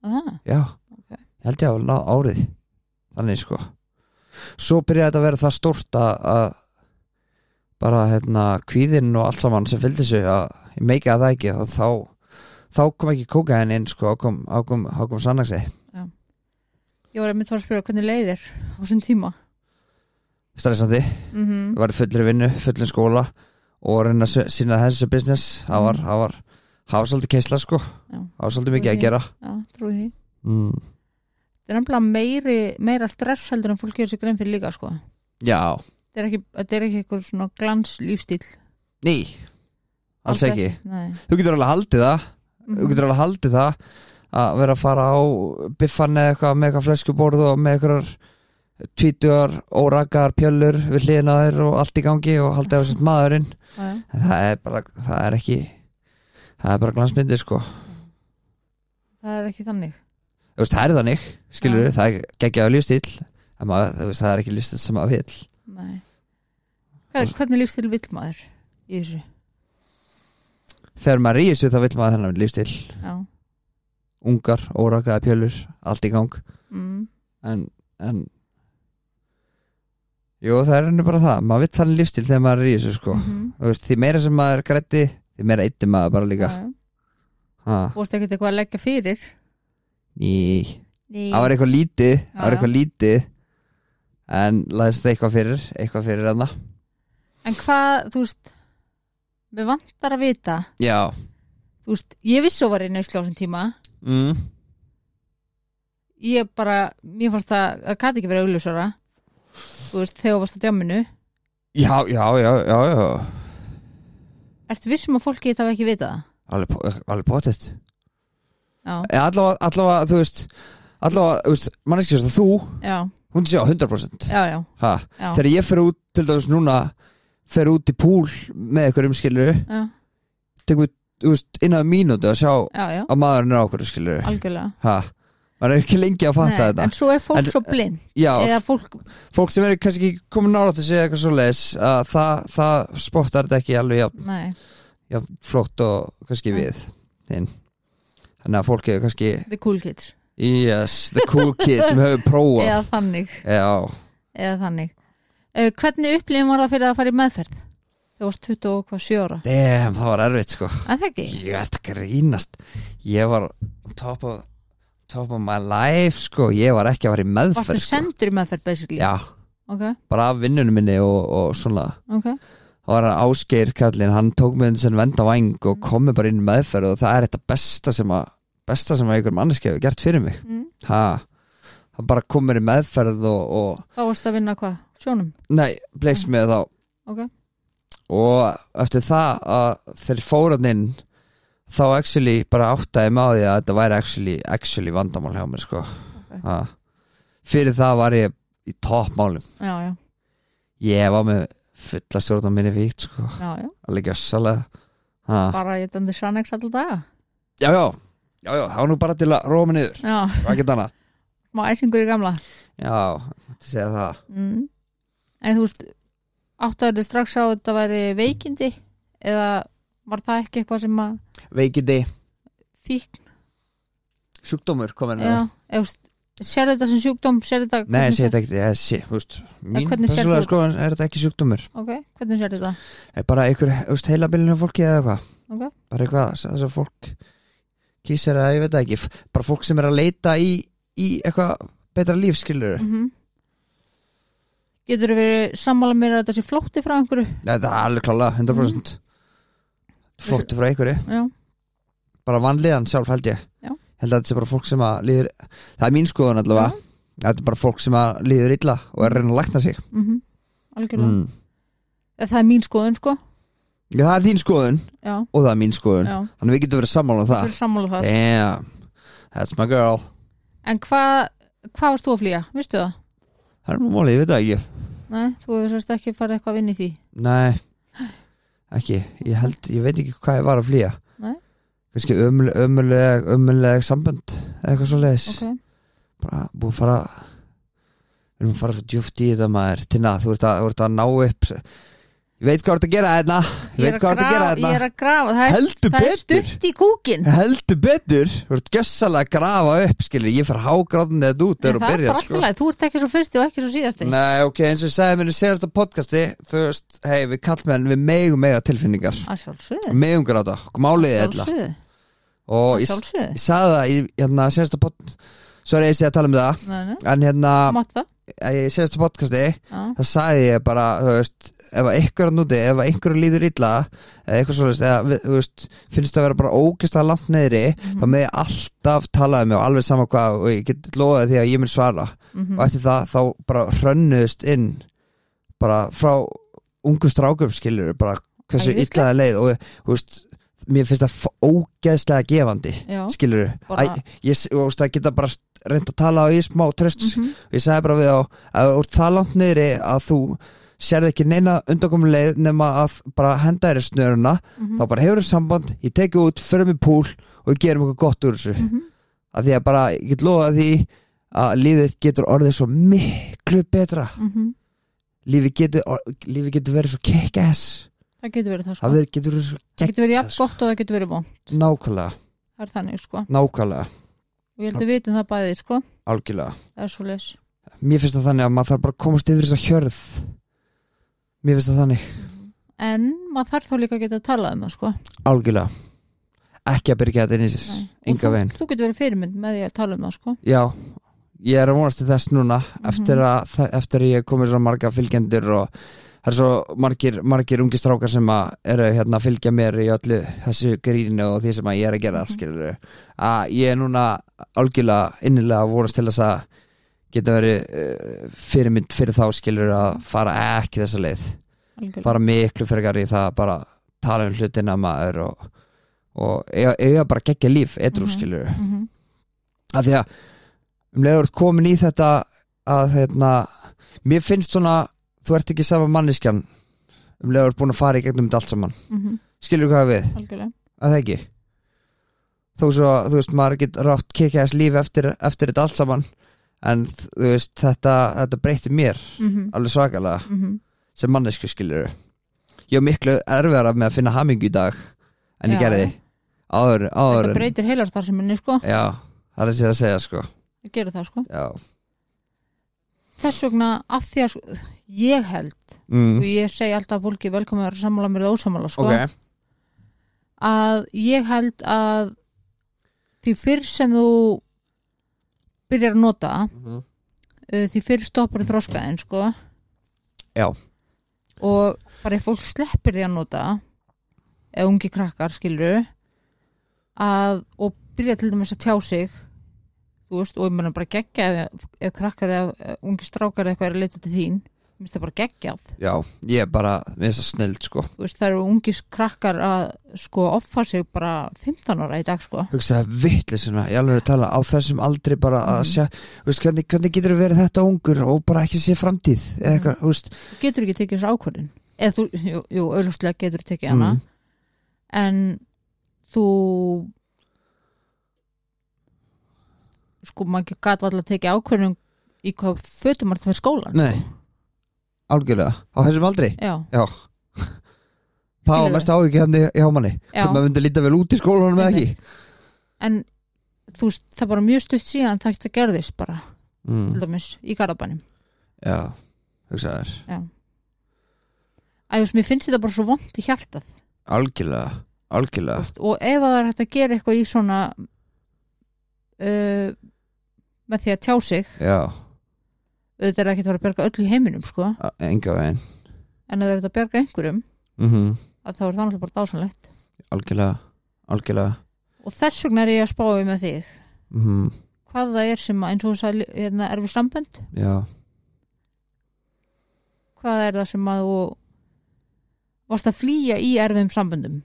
[SPEAKER 1] það?
[SPEAKER 2] Já, ég held ég að hafa náð árið Þannig sko Svo byrjaði þetta að vera það stórt að, að bara hérna kvíðinn og allt saman sem fylgdi sig að ég meika það ekki og þá þá kom ekki kókaðin inn sko þá kom, þá kom, þá kom sannagsi
[SPEAKER 1] ég var að mynd fara að spyrja hvernig leiðir á þessum tíma
[SPEAKER 2] stressandi,
[SPEAKER 1] mm -hmm.
[SPEAKER 2] ég var í fullri vinnu fullin skóla og var að reyna að sína þessu business, það var, það var það var svolítið keisla sko það var svolítið mikið
[SPEAKER 1] Ok.
[SPEAKER 2] að gera
[SPEAKER 1] já, trúi því
[SPEAKER 2] mm.
[SPEAKER 1] þetta er nefnilega meiri, meira stress heldur en fólk gerir sér grein fyrir líka sko.
[SPEAKER 2] Já,
[SPEAKER 1] þetta er ekki, þetta er ekki eitthvað svona glans lífstíl
[SPEAKER 2] ný alls ekki,
[SPEAKER 1] Nei.
[SPEAKER 2] þú getur alveg haldið það þú
[SPEAKER 1] Mhm.
[SPEAKER 2] getur alveg haldið það að vera að fara á biffan eða eitthvað með eitthvað fleskuborð og með eitthvað tvítugar, órakar, pjöllur við hliðina á þér og allt í gangi og haldið á þessum maðurinn
[SPEAKER 1] Já, já.
[SPEAKER 2] en það er bara, það er ekki það er bara glansmyndi sko
[SPEAKER 1] það er ekki þannig
[SPEAKER 2] Þú veist, það er þannig, skilur
[SPEAKER 1] Já.
[SPEAKER 2] það er geggjaðu lífstíl en maður, þú veist, það er ekki lífstíl sem maður vil
[SPEAKER 1] Nei. Hvað, hvernig lífstíl vill maður í þessu
[SPEAKER 2] þegar maður er í þessu þá vil maður þennan lífstíl
[SPEAKER 1] já.
[SPEAKER 2] ungar, órakaða pjöllur, allt í gang
[SPEAKER 1] Mm.
[SPEAKER 2] en, en jú, það er henni bara það maður vill þannig lífstíl þegar maður er í þessu sko
[SPEAKER 1] Mhm.
[SPEAKER 2] Þú veist, því meira sem maður grætti því meira eittir maður bara líka
[SPEAKER 1] Já, já.
[SPEAKER 2] ha,
[SPEAKER 1] búist ekkert eitthvað að leggja fyrir
[SPEAKER 2] ný,
[SPEAKER 1] Nei.
[SPEAKER 2] það var eitthvað lítið það var
[SPEAKER 1] Já, já.
[SPEAKER 2] eitthvað lítið en laðist það eitthvað fyrir eitthvað fyrir hana
[SPEAKER 1] en hvað, þú veist við vantar að vita
[SPEAKER 2] já,
[SPEAKER 1] þú veist, ég vissi að var í neyslu á þessum tíma
[SPEAKER 2] mm.
[SPEAKER 1] ég bara, mér fannst það að gæti ekki verið augljósara þú veist, þegar þú varst á djáminu
[SPEAKER 2] já, já, já, já, já.
[SPEAKER 1] ertu vissum að fólki það ekki vita það?
[SPEAKER 2] alveg, po- alveg potið
[SPEAKER 1] Já,
[SPEAKER 2] allavega, allavega, þú veist allavega, þú veist, manneskja sem þú
[SPEAKER 1] já,
[SPEAKER 2] hún sé á 100%
[SPEAKER 1] já, já,
[SPEAKER 2] ha,
[SPEAKER 1] já,
[SPEAKER 2] þegar ég fer út, til dæmis núna fer út í púl með eitthvað umskilur
[SPEAKER 1] já,
[SPEAKER 2] tekum við, þú veist, innan við mínútu að sjá
[SPEAKER 1] já, já
[SPEAKER 2] að maðurinn er ákvörðu skilur
[SPEAKER 1] algjörlega
[SPEAKER 2] ha, maður er ekki lengi að fatta
[SPEAKER 1] Nei,
[SPEAKER 2] þetta
[SPEAKER 1] en svo er fólk
[SPEAKER 2] En-
[SPEAKER 1] svo blind
[SPEAKER 2] já,
[SPEAKER 1] eða fólk,
[SPEAKER 2] fólk sem er kannski ekki komin nála þessi eða eitthvað svo leis það, það spottar þetta ekki alveg jafn,
[SPEAKER 1] nei,
[SPEAKER 2] jafn flott og kannski við Þinn. þannig að fólk hefur kannski
[SPEAKER 1] the cool kids
[SPEAKER 2] yes, the cool kid sem hefur prófað
[SPEAKER 1] eða þannig,
[SPEAKER 2] já,
[SPEAKER 1] eða þannig uh, hvernig upplifin var það fyrir að fara í meðferð? þú varst 27 ára
[SPEAKER 2] damn, það var erfitt sko
[SPEAKER 1] að það ekki?
[SPEAKER 2] ég ætti grínast ég var top of, top of my life sko, ég var ekki að fara í
[SPEAKER 1] Varstu
[SPEAKER 2] meðferð sko.
[SPEAKER 1] sendur í meðferð basically?
[SPEAKER 2] já,
[SPEAKER 1] Ok,
[SPEAKER 2] bara af vinnunum minni og, og svona
[SPEAKER 1] ok,
[SPEAKER 2] það var hann Ásgeir kallinn, hann tók mig undir sem venda væng og komið bara inn í meðferð og það er þetta besta sem að besta sem að ykkur manneski hefur gert fyrir mig
[SPEAKER 1] mm.
[SPEAKER 2] ha, hann bara komið í meðferð og, og
[SPEAKER 1] þá varst að vinna hvað? Sjónum?
[SPEAKER 2] nei, bleiks með þá
[SPEAKER 1] Ok,
[SPEAKER 2] og eftir það að þeir fóran inn þá actually bara áttaði með á því að þetta væri actually, actually vandamál hjá mér sko ha, fyrir það var ég í toppmálum
[SPEAKER 1] já, já,
[SPEAKER 2] ég var með fulla stjórn á minni víkt sko,
[SPEAKER 1] já, já.
[SPEAKER 2] alveg gjössalega ha.
[SPEAKER 1] bara ég dændi Shanex alltaf daga
[SPEAKER 2] já, já, já, já, það var nú bara til að róa mig niður,
[SPEAKER 1] Já,
[SPEAKER 2] hvað geta hana
[SPEAKER 1] má æsingur í gamla
[SPEAKER 2] já, þetta segja það
[SPEAKER 1] mm. En þú veist áttu þetta strax á að þetta væri veikindi eða var það ekki eitthvað sem að
[SPEAKER 2] veikindi,
[SPEAKER 1] fíkn
[SPEAKER 2] sjúkdómur komin
[SPEAKER 1] eða, eða þú veist, sér þetta sem sjúkdóm, sér þetta
[SPEAKER 2] Nei,
[SPEAKER 1] hvernig
[SPEAKER 2] ég sé
[SPEAKER 1] sér-
[SPEAKER 2] þetta ekki, ég sé, þú veist Mín
[SPEAKER 1] hvernig sérðu
[SPEAKER 2] persónulega
[SPEAKER 1] þetta?
[SPEAKER 2] skoðan er þetta ekki sjúkdómur
[SPEAKER 1] ok, hvernig sér þetta
[SPEAKER 2] Er bara einhver, þú veist, heilabilin af fólki eða eitthvað
[SPEAKER 1] Ok.
[SPEAKER 2] Bara eitthvað, þess að fólk kýsir að, ég veit það ekki f- Bara fólk sem er að leita í, í eitthvað betra líf, skilur
[SPEAKER 1] mm getur þú verið sammála mér að þetta sé flótti frá einhverju
[SPEAKER 2] Þetta er alveg klálega, 100%
[SPEAKER 1] Mm.
[SPEAKER 2] Flótti frá einhverju
[SPEAKER 1] já,
[SPEAKER 2] bara vanlíðan sjálf held ég
[SPEAKER 1] Já.
[SPEAKER 2] held að þetta sé bara fólk sem að líður það er mín skoðun allavega þetta er bara fólk sem að líður illa og er að reyna að lækna sig
[SPEAKER 1] mm algjörlega
[SPEAKER 2] mm.
[SPEAKER 1] það er mín skoðun sko
[SPEAKER 2] Já, það er þín skoðun
[SPEAKER 1] já,
[SPEAKER 2] og það er mín skoðun
[SPEAKER 1] já,
[SPEAKER 2] þannig við getum verið sammála um
[SPEAKER 1] þú
[SPEAKER 2] það
[SPEAKER 1] verið sammála það
[SPEAKER 2] Damn, that's my girl
[SPEAKER 1] en hvað hva varst þú að flýja, vistu það?
[SPEAKER 2] það er nú mólið, ég veit það ekki
[SPEAKER 1] Nei, þú hefur sérst ekki farið eitthvað að vinna í því
[SPEAKER 2] nei, ekki, ég held ég veit ekki hvað ég var að flýja
[SPEAKER 1] Nei.
[SPEAKER 2] kannski ömuleg, ömuleg, ömuleg sambönd eða eitthvað svo leiðis
[SPEAKER 1] ok,
[SPEAKER 2] bara búið að fara við erum að fara svo djúft í þetta maður Tinna, þú ert að, þú ert að ná upp ég veit hvað þú ert að gera hérna ég
[SPEAKER 1] ég er
[SPEAKER 2] veit
[SPEAKER 1] að
[SPEAKER 2] hvað þú ert að gera
[SPEAKER 1] grafa, ég er
[SPEAKER 2] hérna
[SPEAKER 1] að grafa það er,
[SPEAKER 2] heldur
[SPEAKER 1] það er
[SPEAKER 2] betur
[SPEAKER 1] stutt í kúkin
[SPEAKER 2] heldur betur, þú ert gjössalega að grafa upp skilur, ég fer hágráðin þetta út
[SPEAKER 1] það
[SPEAKER 2] þegar
[SPEAKER 1] er
[SPEAKER 2] þú
[SPEAKER 1] bara
[SPEAKER 2] byrjar
[SPEAKER 1] alltaf
[SPEAKER 2] sko
[SPEAKER 1] leið, þú ert ekki svo fyrsti og ekki svo síðasti
[SPEAKER 2] Nei, ok, eins og ég sagði mér í senasta podcasti þú veist, hei, við kallmenn, við megum mega tilfinningar,
[SPEAKER 1] að sjálfsögðu
[SPEAKER 2] megum gráta málið er illa
[SPEAKER 1] sjálfsögðu,
[SPEAKER 2] og
[SPEAKER 1] að
[SPEAKER 2] ég,
[SPEAKER 1] sjálfsögðu
[SPEAKER 2] ég sagði það í hérna, senasta podcast sorry, ég sé að tala um það
[SPEAKER 1] Nei, nei,
[SPEAKER 2] en hérna,
[SPEAKER 1] mátt það
[SPEAKER 2] í senasta podcasti
[SPEAKER 1] já.
[SPEAKER 2] það sagði ég bara, þú veist ef að einhverja núti, ef að einhverju líður illa eða eitthvað svoleiðist, eða við- þú veist finnst það að vera bara ógæslega langt neðri
[SPEAKER 1] Mhm.
[SPEAKER 2] þá með ég alltaf talaði mig og alveg sama hvað og ég get lofaði því að ég mun svara
[SPEAKER 1] Mhm.
[SPEAKER 2] og eftir það þá bara hrönnuðist inn bara frá ungum strákum skilur bara hversu
[SPEAKER 1] Æðislegt.
[SPEAKER 2] illa það leið og þú veist, mér finnst það f- ógeðslega gefandi
[SPEAKER 1] Já.
[SPEAKER 2] skilur,
[SPEAKER 1] Bara-
[SPEAKER 2] Æ, ég, s- þú veist, það geta bara reynda að tala á í smá tröst
[SPEAKER 1] Mhm.
[SPEAKER 2] og ég sagði bara við á að þú ert það langt niðri að þú sérð ekki neina undankomin leið nema að bara henda þér í snöruna
[SPEAKER 1] Mhm.
[SPEAKER 2] þá bara hefur þér samband, ég teki út fyrir mig púl og við gerum eitthvað gott úr þessu mm
[SPEAKER 1] Mhm.
[SPEAKER 2] að því að bara, ég get lofa því að lífið getur orðið svo miklu betra
[SPEAKER 1] Mhm.
[SPEAKER 2] lífið getur, or- lífið getur verið svo kick-ass
[SPEAKER 1] það getur verið það sko
[SPEAKER 2] það verið- getur verið svo
[SPEAKER 1] það
[SPEAKER 2] gegn
[SPEAKER 1] getur verið jafn gott og það getur verið vond
[SPEAKER 2] nákvæmlega,
[SPEAKER 1] það er þannig sko
[SPEAKER 2] nákvæmlega,
[SPEAKER 1] og ég held að við vitum það bæði sko
[SPEAKER 2] algjörlega
[SPEAKER 1] það er svo leis
[SPEAKER 2] mér finnst það þannig að maður þarf bara að komast yfir þess að hjörð mér finnst það þannig
[SPEAKER 1] en maður þarf þá líka að geta að tala um það sko
[SPEAKER 2] Algjörlega Ekki að byrja þetta inn í sér
[SPEAKER 1] Nei. Og
[SPEAKER 2] Enga
[SPEAKER 1] þú-
[SPEAKER 2] veginn
[SPEAKER 1] þú getur verið fyrirmynd með því að tala um það sko
[SPEAKER 2] Já, ég er að vonast til þess núna eftir, að, þa- eftir að ég komið svo marga fylgjendur og það er svo margir, margir ungi strákar sem að eru hérna að fylgja mér í öllu þessu grínu og því sem að ég er að gera mm skilur að ég er núna algjörlega innilega að vonast til þess að geta verið uh, fyrirmynd fyrir þá skilur að fara ekki þessa leið
[SPEAKER 1] Algjörlega.
[SPEAKER 2] fara miklu frekar í það að bara tala um hlutina maður og, og eiga, eiga bara geggja líf edru
[SPEAKER 1] Mhm.
[SPEAKER 2] skilur
[SPEAKER 1] Mhm.
[SPEAKER 2] af því að um leiður komin í þetta að hérna mér finnst svona, þú ert ekki sama manneskjan um leiður búin að fara í gegnum þetta allt saman,
[SPEAKER 1] Mhm.
[SPEAKER 2] skilur hvað ég á við
[SPEAKER 1] algjörlega
[SPEAKER 2] að það ekki þó svo, að, þú veist, maður get rátt kikja þess líf eftir, eftir þetta allt saman en þú veist, þetta, þetta breytir mér
[SPEAKER 1] Mhm.
[SPEAKER 2] alveg svakalega
[SPEAKER 1] Mhm.
[SPEAKER 2] sem mannesku skilur ég er miklu erfiðara með að finna hamingu í dag en ég
[SPEAKER 1] Já.
[SPEAKER 2] gerði áður, áður
[SPEAKER 1] þetta
[SPEAKER 2] en-
[SPEAKER 1] breytir heilarstarfseminni sko
[SPEAKER 2] já, það er sér að segja sko
[SPEAKER 1] það gerir það sko
[SPEAKER 2] já,
[SPEAKER 1] þess vegna að því að sko, ég held og
[SPEAKER 2] mm.
[SPEAKER 1] ég segi alltaf fólki velkomin að vera sammála mér eða ósammála sko
[SPEAKER 2] ok
[SPEAKER 1] að ég held að því fyrr sem þú byrjar að nota
[SPEAKER 2] Mhm.
[SPEAKER 1] uh, því fyrr stoppar þroskaðin sko
[SPEAKER 2] Já.
[SPEAKER 1] og bara ef fólk sleppir því að nota eða ungi krakkar skilur að og byrja til dæmis að tjá sig þú veist og ég meina bara geggja ef, ef krakkar eða eh, ungi strákar eða eitthvað er að leita til þín mér finnst það bara geggjað
[SPEAKER 2] já, ég er bara, mér finnst það snild sko
[SPEAKER 1] þú veist það eru ungi krakkar að sko offa sig bara 15 ára í dag sko
[SPEAKER 2] hugsaði vittlisuna, ég alveg er að tala á þessum aldrei bara að sjá þú veist, hvernig, hvernig getur verið þetta ungur og bara ekki sé framtíð eða eitthvað, þú veist
[SPEAKER 1] þú getur ekki tekið þessu ákvörðin eða þú, jú, jú auðvitað getur tekið hana
[SPEAKER 2] Mm.
[SPEAKER 1] en þú sko maður gæti alltaf að tekið ákvörðin í hvað fötum maður það fyrir skólan
[SPEAKER 2] nei, algjörlega á þessum aldrei,
[SPEAKER 1] já,
[SPEAKER 2] já <laughs> það var
[SPEAKER 1] Skilurðu?
[SPEAKER 2] hérna mest ávikið hann í, í hámanni
[SPEAKER 1] Já.
[SPEAKER 2] hvernig maður myndi líta vel út í skólanum eða ekki
[SPEAKER 1] en þú veist, það er bara mjög stutt síðan það þetta gerðist bara, til
[SPEAKER 2] mm.
[SPEAKER 1] dæmis, í garðabænum
[SPEAKER 2] já, hugsaður
[SPEAKER 1] Æ, þú veist, mér finnst þetta bara svo vond í hjartað
[SPEAKER 2] algjörlega, algjörlega
[SPEAKER 1] Þú veist, og ef að það er hægt að gera eitthvað í svona uh, með því að tjá sig
[SPEAKER 2] já,
[SPEAKER 1] auðvitað er það ekki að fara að berga öllu í heiminum sko,
[SPEAKER 2] a- enga veginn
[SPEAKER 1] en að það er hægt að berga einhverjum
[SPEAKER 2] mm
[SPEAKER 1] að þá er það náttúrulega bara dásanlegt
[SPEAKER 2] algjörlega, algjörlega
[SPEAKER 1] og þess vegna er ég að spáði með þig
[SPEAKER 2] mm
[SPEAKER 1] hvað það er sem að, eins og þess að hérna, erfi sambönd,
[SPEAKER 2] já,
[SPEAKER 1] hvað er það sem að þú varst að flýja í erfiðum samböndum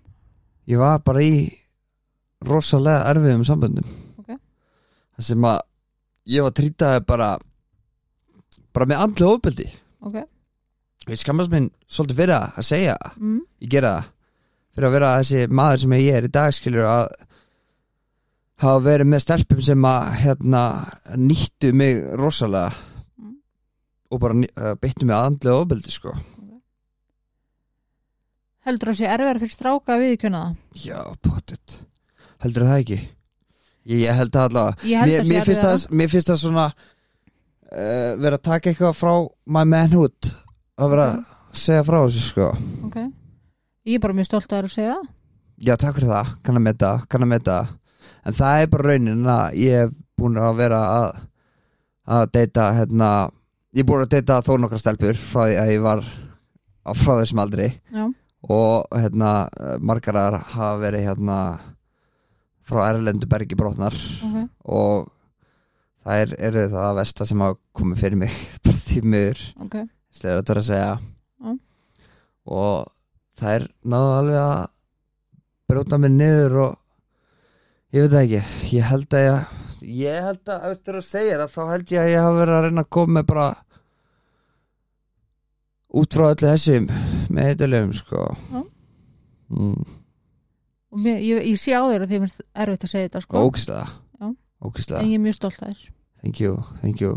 [SPEAKER 2] ég var bara í rosalega erfiðum samböndum
[SPEAKER 1] Ok.
[SPEAKER 2] það sem að ég var trýtaði bara bara með andlu ofbeldi
[SPEAKER 1] ok,
[SPEAKER 2] ég skammast minn svolítið fyrir það að segja það.
[SPEAKER 1] mm,
[SPEAKER 2] ég gera það fyrir að vera þessi maður sem ég er í dag skilur að hafa verið með stelpum sem að hérna, nýttu mig rosalega
[SPEAKER 1] Mm.
[SPEAKER 2] og bara ný- eh, beittu mig að andlega ofbeldi sko
[SPEAKER 1] heldur það sé erfiðar fyrir stráka að viðkjöna það
[SPEAKER 2] já, pottet heldur það ekki ég, ég held það allavega
[SPEAKER 1] ég held
[SPEAKER 2] mér,
[SPEAKER 1] að sé
[SPEAKER 2] mér, finnst
[SPEAKER 1] erfiðara.
[SPEAKER 2] það, mér finnst það svona uh, vera að taka eitthvað frá my manhood að vera að segja frá þessu sko
[SPEAKER 1] Ok. Ég er bara mjög stolt að þér að segja það.
[SPEAKER 2] já takk fyrir það, kann að meta, kann að meta en það er bara raunin að ég er búin að vera að að deyta hérna ég er búin að deyta þó nokkra stelpur frá því að ég var á frá þessum aldri
[SPEAKER 1] Já.
[SPEAKER 2] og hérna eh, margar aðrar hafa verið hérna frá Erlendu bergi brotnar
[SPEAKER 1] Ok.
[SPEAKER 2] og það er, eru það að vesta sem hafa komið fyrir mig <laughs> bara því miður,
[SPEAKER 1] Ok.
[SPEAKER 2] slegir að vera að segja
[SPEAKER 1] Já.
[SPEAKER 2] og það er náðu alveg að brjóta mig niður og ég veit það ekki, ég held að ég ég held að eftir að segja það þá held ég að ég hafa verið að reyna að koma með bara út frá öllu þessum með eitthvað sko
[SPEAKER 1] Já.
[SPEAKER 2] mm.
[SPEAKER 1] Og mér, ég, ég sé á þér að þið finnst erfitt að segja þetta sko. Já.
[SPEAKER 2] ógislega ógislega
[SPEAKER 1] En ég er mjög stolt að þér.
[SPEAKER 2] thank you, thank you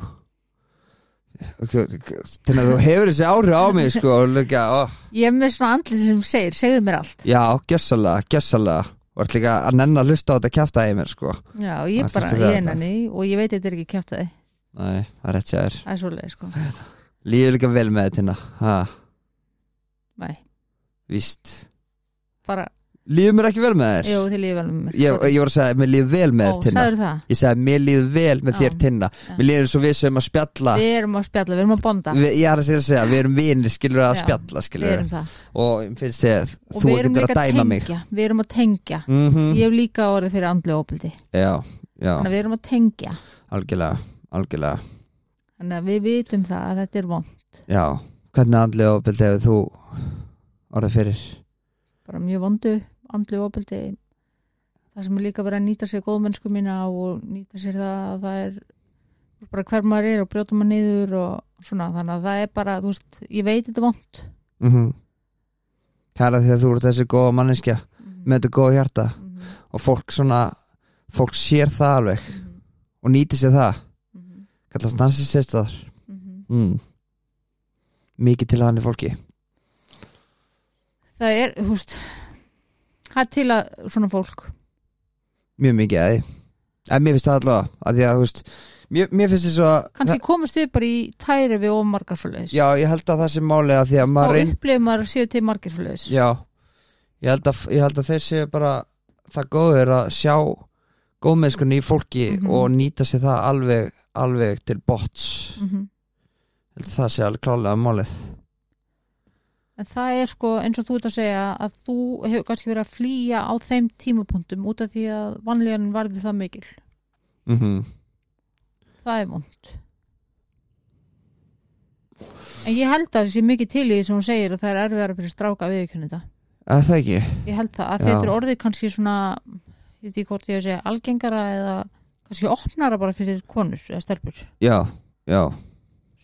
[SPEAKER 2] þannig að þú hefur þessi áhrif á mig sko og líka, ó,
[SPEAKER 1] Ég er með svona andlið sem segir, segðu mér allt.
[SPEAKER 2] já, gjössalega, gjössalega og ert líka að nenn að hlusta á þetta kjæfta í mér sko
[SPEAKER 1] Já, og ég er
[SPEAKER 2] Ætlastu
[SPEAKER 1] bara
[SPEAKER 2] að
[SPEAKER 1] í
[SPEAKER 2] vera
[SPEAKER 1] einanni og ég veit þetta er ekki kjátt að þið.
[SPEAKER 2] nei, það er rétt sér
[SPEAKER 1] Það er svolítið sko.
[SPEAKER 2] líður líka vel með þetta hérna, ha,
[SPEAKER 1] Nei,
[SPEAKER 2] víst
[SPEAKER 1] bara,
[SPEAKER 2] líður mér ekki vel með þér
[SPEAKER 1] jú, þið lífið alveg með mér.
[SPEAKER 2] ég, ég voru að segja, mér líður vel með
[SPEAKER 1] Ó,
[SPEAKER 2] þér tinna
[SPEAKER 1] sagðirðu það?
[SPEAKER 2] ég segja, mér líður vel með
[SPEAKER 1] Já.
[SPEAKER 2] þér tinna mér líður eins og við sem að spjalla
[SPEAKER 1] Við erum að spjalla, við erum að bonda.
[SPEAKER 2] við, ég er að segja að segja, við erum vinir skilur að
[SPEAKER 1] Já.
[SPEAKER 2] spjalla
[SPEAKER 1] Við
[SPEAKER 2] skilur
[SPEAKER 1] erum það.
[SPEAKER 2] og mér finnst ég,
[SPEAKER 1] Og
[SPEAKER 2] þú
[SPEAKER 1] við erum
[SPEAKER 2] getur að
[SPEAKER 1] líka
[SPEAKER 2] dæma mig
[SPEAKER 1] tengja. Við erum að tengja.
[SPEAKER 2] mm
[SPEAKER 1] Ég hef líka orðið fyrir andlu opildi.
[SPEAKER 2] já, já,
[SPEAKER 1] Þannig að við erum að tengja.
[SPEAKER 2] algjörlega algjörlega,
[SPEAKER 1] Þannig að við vitum það að þetta er vond.
[SPEAKER 2] já hvernig andlega ofbeldi hefur þú orðið fyrir
[SPEAKER 1] bara mjög vondu andlu opildi það sem er líka verið að nýta sér góðmennsku mína og nýta sér það að það er bara hver maður er og brjóta maður niður og svona þannig að það er bara þú veist, ég veit þetta er vond
[SPEAKER 2] mm -hmm. það er að því að þú ert þessi góða manneskja með þetta góða hjarta
[SPEAKER 1] Mhm,
[SPEAKER 2] og fólk svona, fólk sér það alveg
[SPEAKER 1] mhm,
[SPEAKER 2] og nýtir sér það
[SPEAKER 1] mhm,
[SPEAKER 2] kallast narsististar
[SPEAKER 1] mhm.
[SPEAKER 2] mm. mikið til þannig fólki
[SPEAKER 1] það er, þú veist það er til að svona fólk
[SPEAKER 2] mjög mikið að því en mér finnst það allavega að því að þú veist mér, mér finnst þess að
[SPEAKER 1] kannski komast við bara í tæri við ómargar svo leiðis
[SPEAKER 2] já, ég held að það sem málið að því að
[SPEAKER 1] þá
[SPEAKER 2] maður reyn-
[SPEAKER 1] upplifir maður að séu til margir svo leiðis
[SPEAKER 2] Já, ég held að, ég held að þeir séu bara það góður að sjá góðmennskunni í fólki
[SPEAKER 1] Mhm.
[SPEAKER 2] og nýta sér það alveg, alveg til bots
[SPEAKER 1] Mhm.
[SPEAKER 2] Ég held að það sé alveg klálega málið
[SPEAKER 1] En það er sko eins og þú ert að segja að þú hefur kannski verið að flýja á þeim tímapunktum út af því að vanlíðan varði það mikil.
[SPEAKER 2] mm -hmm.
[SPEAKER 1] Það er vond. En ég held að það sé mikið til í því sem hún segir og það er erfiðara fyrir stráka við ekki þetta.
[SPEAKER 2] að það ekki
[SPEAKER 1] Ég held það að
[SPEAKER 2] Já.
[SPEAKER 1] þetta er orðið kannski svona, ég veit ekki hvort ég að segja, algengara eða kannski opnara bara fyrir konur eða stelpur.
[SPEAKER 2] Já, já,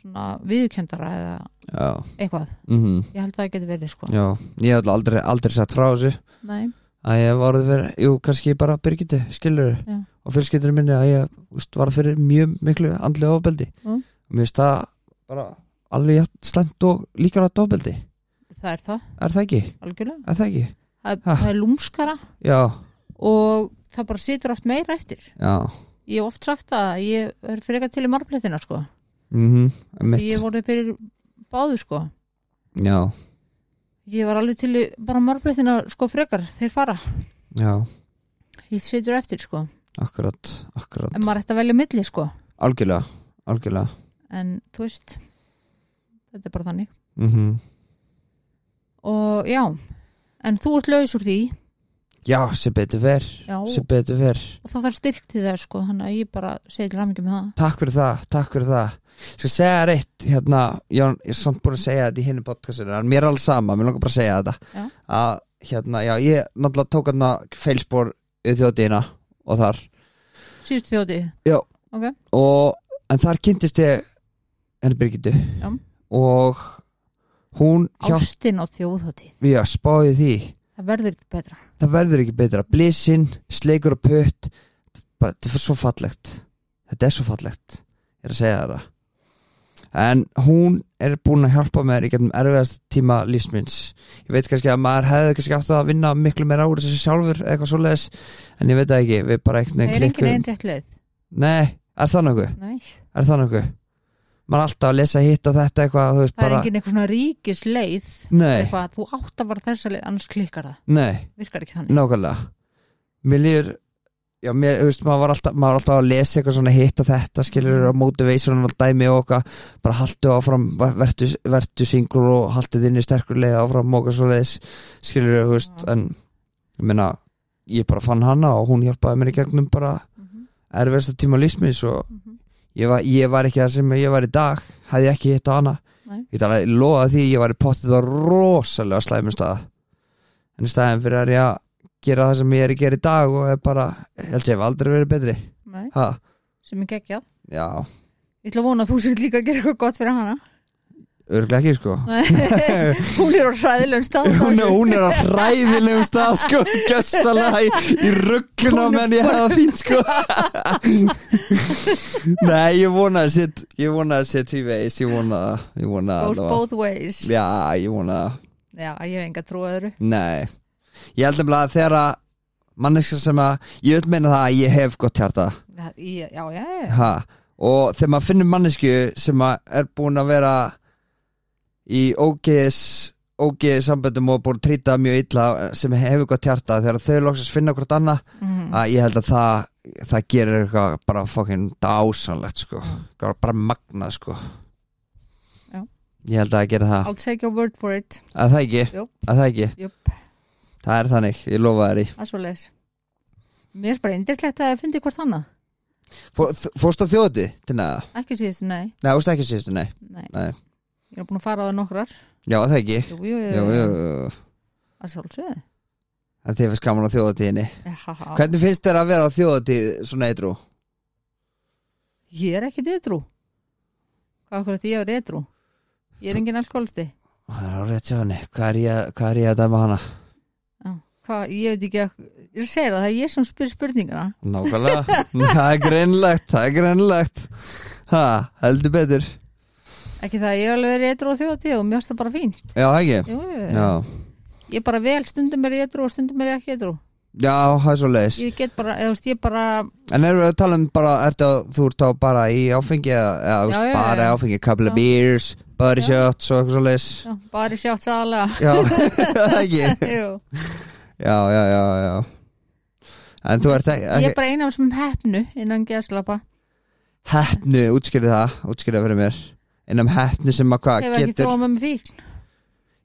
[SPEAKER 1] Svona viðkjöndara eða
[SPEAKER 2] já
[SPEAKER 1] eitthvað.
[SPEAKER 2] mm
[SPEAKER 1] Ég held að það geti verið sko.
[SPEAKER 2] Já, ég hef aldrei, aldrei sett frá þessu
[SPEAKER 1] Nei,
[SPEAKER 2] að ég var orðið fyrir, jú, kannski bara Birgitu, skilur
[SPEAKER 1] Já.
[SPEAKER 2] og fjölskyldinu minni að ég úst, var fyrir mjög miklu andlega ofbeldi
[SPEAKER 1] Mm.
[SPEAKER 2] mér finnst það bara alveg jafn slæmt og líka rætt ofbeldi
[SPEAKER 1] það er það,
[SPEAKER 2] er það ekki?
[SPEAKER 1] algjörlega.
[SPEAKER 2] Er það ekki?
[SPEAKER 1] Það,
[SPEAKER 2] Ha.
[SPEAKER 1] það er lúmskara
[SPEAKER 2] Já,
[SPEAKER 1] og það bara situr oft meira eftir
[SPEAKER 2] já
[SPEAKER 1] ég hef oft sagt að ég er frekar til í marbletina sko
[SPEAKER 2] mm
[SPEAKER 1] Því
[SPEAKER 2] -hmm.
[SPEAKER 1] ég hef voruð fyrir báðu sko
[SPEAKER 2] já,
[SPEAKER 1] ég var alveg til í bara marbletina sko frekar þeir fara,
[SPEAKER 2] já,
[SPEAKER 1] ég situr eftir sko
[SPEAKER 2] akkurat akkurat,
[SPEAKER 1] en maður ætti að velja milli sko
[SPEAKER 2] algjörlega algjörlega
[SPEAKER 1] en þú veist þetta er bara þannig
[SPEAKER 2] mm
[SPEAKER 1] og já, en þú ert laus úr því
[SPEAKER 2] já, sem betur ver
[SPEAKER 1] já,
[SPEAKER 2] sem betur ver
[SPEAKER 1] og það þarf styrk til það sko þannig að ég bara segi til hamingi með það
[SPEAKER 2] takk fyrir það, takk fyrir það Ég skal segja þér eitt, hérna Jón, ég er samt búin að segja þetta í hinni podcastinu en mér er alveg sama, mér langar bara að segja þetta
[SPEAKER 1] Já.
[SPEAKER 2] að hérna, já, ég náttúrulega tók hérna feilspor við þjóðdýna og þar,
[SPEAKER 1] síðustu þjótið
[SPEAKER 2] Já.
[SPEAKER 1] ok,
[SPEAKER 2] og en þar kynntist ég henni Birgitu
[SPEAKER 1] Já. og
[SPEAKER 2] og hún hjá,
[SPEAKER 1] ástin á þjóðhátíð
[SPEAKER 2] já, spáði því
[SPEAKER 1] það verður ekki betra
[SPEAKER 2] það verður ekki betra, blísinn sleikur og putt bara, þetta er svo fallegt þetta er svo fallegt, ég er að segja þér það en hún er búin að hjálpa mér í gegnum erfiðast tíma lífsmins ég veit kannski að maður hefði kannski átt að vinna miklu meira úr þessu sjálfur eða eitthvað svoleiðis, en ég veit það ekki, við bara
[SPEAKER 1] það
[SPEAKER 2] einhvern
[SPEAKER 1] er
[SPEAKER 2] veginn
[SPEAKER 1] engin
[SPEAKER 2] klikkum
[SPEAKER 1] einrætt leið
[SPEAKER 2] nei, er það nokkuð,
[SPEAKER 1] Nei.
[SPEAKER 2] er það nokkuð maður er alltaf að lesa hitt og þetta eitthvað þú veist
[SPEAKER 1] það er
[SPEAKER 2] bara,
[SPEAKER 1] engin eitthvað svona ríkis leið
[SPEAKER 2] nei,
[SPEAKER 1] eitthvað að þú átt að vara þessa leið annars klikkar það,
[SPEAKER 2] nei
[SPEAKER 1] virkar ekki þannig
[SPEAKER 2] Nákvæmlega Mér líður Já, mér, þú veist, maður var alltaf, maður var alltaf að lesa eitthvað svona hitt og þetta, skilur, og motivation og dæmi og okkar, bara haltu áfram vertu, vertu singur og haltu þinni sterkur leið áfram og okkar svo leiðis skilur, þú veist,
[SPEAKER 1] Já.
[SPEAKER 2] en ég meina, ég bara fann hana og hún hjálpaði mér í gegnum bara
[SPEAKER 1] Mhm,
[SPEAKER 2] erfiðasta tíma lífsmiðs og
[SPEAKER 1] mhm.
[SPEAKER 2] ég var, ég var ekki það sem ég var í dag hefði ég ekki hitt á hana
[SPEAKER 1] Nei.
[SPEAKER 2] ég tala, ég loða því, ég var í pottið á rosalega slæmum stað en í staðin fyrir að ég að gera það sem ég er að gera í dag og er bara ég held ég hef aldrei verið betri
[SPEAKER 1] Nei,
[SPEAKER 2] ha,
[SPEAKER 1] sem er geggjað
[SPEAKER 2] já,
[SPEAKER 1] ég ætla að vona að þú sér líka að gera eitthvað gott fyrir
[SPEAKER 2] <laughs>
[SPEAKER 1] hana
[SPEAKER 2] örglega ekki sko
[SPEAKER 1] Nei, hún er á hræðilegum stað
[SPEAKER 2] hún,
[SPEAKER 1] á þessu.
[SPEAKER 2] hún er á hræðilegum stað sko, gessalega í, í rugguna menn ég hefði það fínt sko nei, ég vona að sitt ég vona að sitt því veis, ég vona ég vona
[SPEAKER 1] goes
[SPEAKER 2] allavega.
[SPEAKER 1] both ways
[SPEAKER 2] já, ég vona það
[SPEAKER 1] já, ég hef enga trú að öðru
[SPEAKER 2] Nei, ég held nefnilega að þegar að manneska sem að, ég vil meina það að ég hef gott hjarta
[SPEAKER 1] já, já, já, já.
[SPEAKER 2] ha. og þegar maður finnur mannesku sem að er búin að vera í ógeðis ógeðis samböndum og búin að trýta mjög illa sem hefur gott hjarta þegar þau loksast finna hvort annað
[SPEAKER 1] Mhm.
[SPEAKER 2] að ég held að það, það gerir eitthvað bara fokkin dásanlegt sko, bara bara magnað sko
[SPEAKER 1] Já.
[SPEAKER 2] ég held að það gerir það,
[SPEAKER 1] I'll take your word for it
[SPEAKER 2] að það ekki
[SPEAKER 1] Jú.
[SPEAKER 2] að það ekki,
[SPEAKER 1] Jú.
[SPEAKER 2] það er þannig, ég lofa þér í
[SPEAKER 1] Það er svo leiðis. Mér finnst bara indislegt að það fundi hvort annað.
[SPEAKER 2] Fó- þ- Fórstu á þjóti til neða?
[SPEAKER 1] Ekki síðustu, nei.
[SPEAKER 2] Nei, fórstu ekki síðustu, nei
[SPEAKER 1] nei.
[SPEAKER 2] Nei.
[SPEAKER 1] Ég er búin að fara á það nokkrar.
[SPEAKER 2] Já, það ekki
[SPEAKER 1] Jú, jú,
[SPEAKER 2] Jú, jú, jú
[SPEAKER 1] Það er svolítið.
[SPEAKER 2] En þið finnst gaman á þjóðatíðinni
[SPEAKER 1] Eh, Hvað?
[SPEAKER 2] Hvernig finnst þér að vera á þjóðatíð svona eitrú?
[SPEAKER 1] Ég er ekki detrú. Hvað okkur að ég er detrú? Ég er engin alkoholisti.
[SPEAKER 2] Það er á rétt hjá henni Hvað er ég, hvað er ég að dæma hana?
[SPEAKER 1] Já. Hvað, ég veit ekki að, ég segir að það er ég sem spyr spurningana.
[SPEAKER 2] Nákvæmlega <laughs> Það er greinlegt, það er greinlegt Ha, heldur betur
[SPEAKER 1] Ekki það, að ég er alveg verið detrú á þjóti og mér finnst það bara fínt.
[SPEAKER 2] Já, ekki
[SPEAKER 1] Jú, jú, jú.
[SPEAKER 2] Já,
[SPEAKER 1] Ég er bara vel, stundum er ég detrú og stundum er ég ekki detrú.
[SPEAKER 2] já, það er svo leiðis
[SPEAKER 1] Ég get bara, eða þú veist, ég bara,
[SPEAKER 2] En erum við að tala um bara, ertu að þú ert á bara í áfengi eða, eða
[SPEAKER 1] Já,
[SPEAKER 2] þú veist,
[SPEAKER 1] já,
[SPEAKER 2] bara
[SPEAKER 1] já.
[SPEAKER 2] í áfengi, couple of
[SPEAKER 1] Já.
[SPEAKER 2] beers, body
[SPEAKER 1] Já.
[SPEAKER 2] shots og eitthvað svo leiðis
[SPEAKER 1] já, bara sjátt
[SPEAKER 2] <laughs>
[SPEAKER 1] sæðalega.
[SPEAKER 2] Já, það ekki
[SPEAKER 1] Jú.
[SPEAKER 2] Já, já, já, já En þú ert ekki,
[SPEAKER 1] Ég er
[SPEAKER 2] ekki
[SPEAKER 1] bara eina af þessum hefnu innan geðslapa
[SPEAKER 2] Heppnu, útskýrðu það, útskýrðu það fyrir mér Innum heppnu sem að hvað
[SPEAKER 1] hef ekki
[SPEAKER 2] getur
[SPEAKER 1] þróa með mig fíkn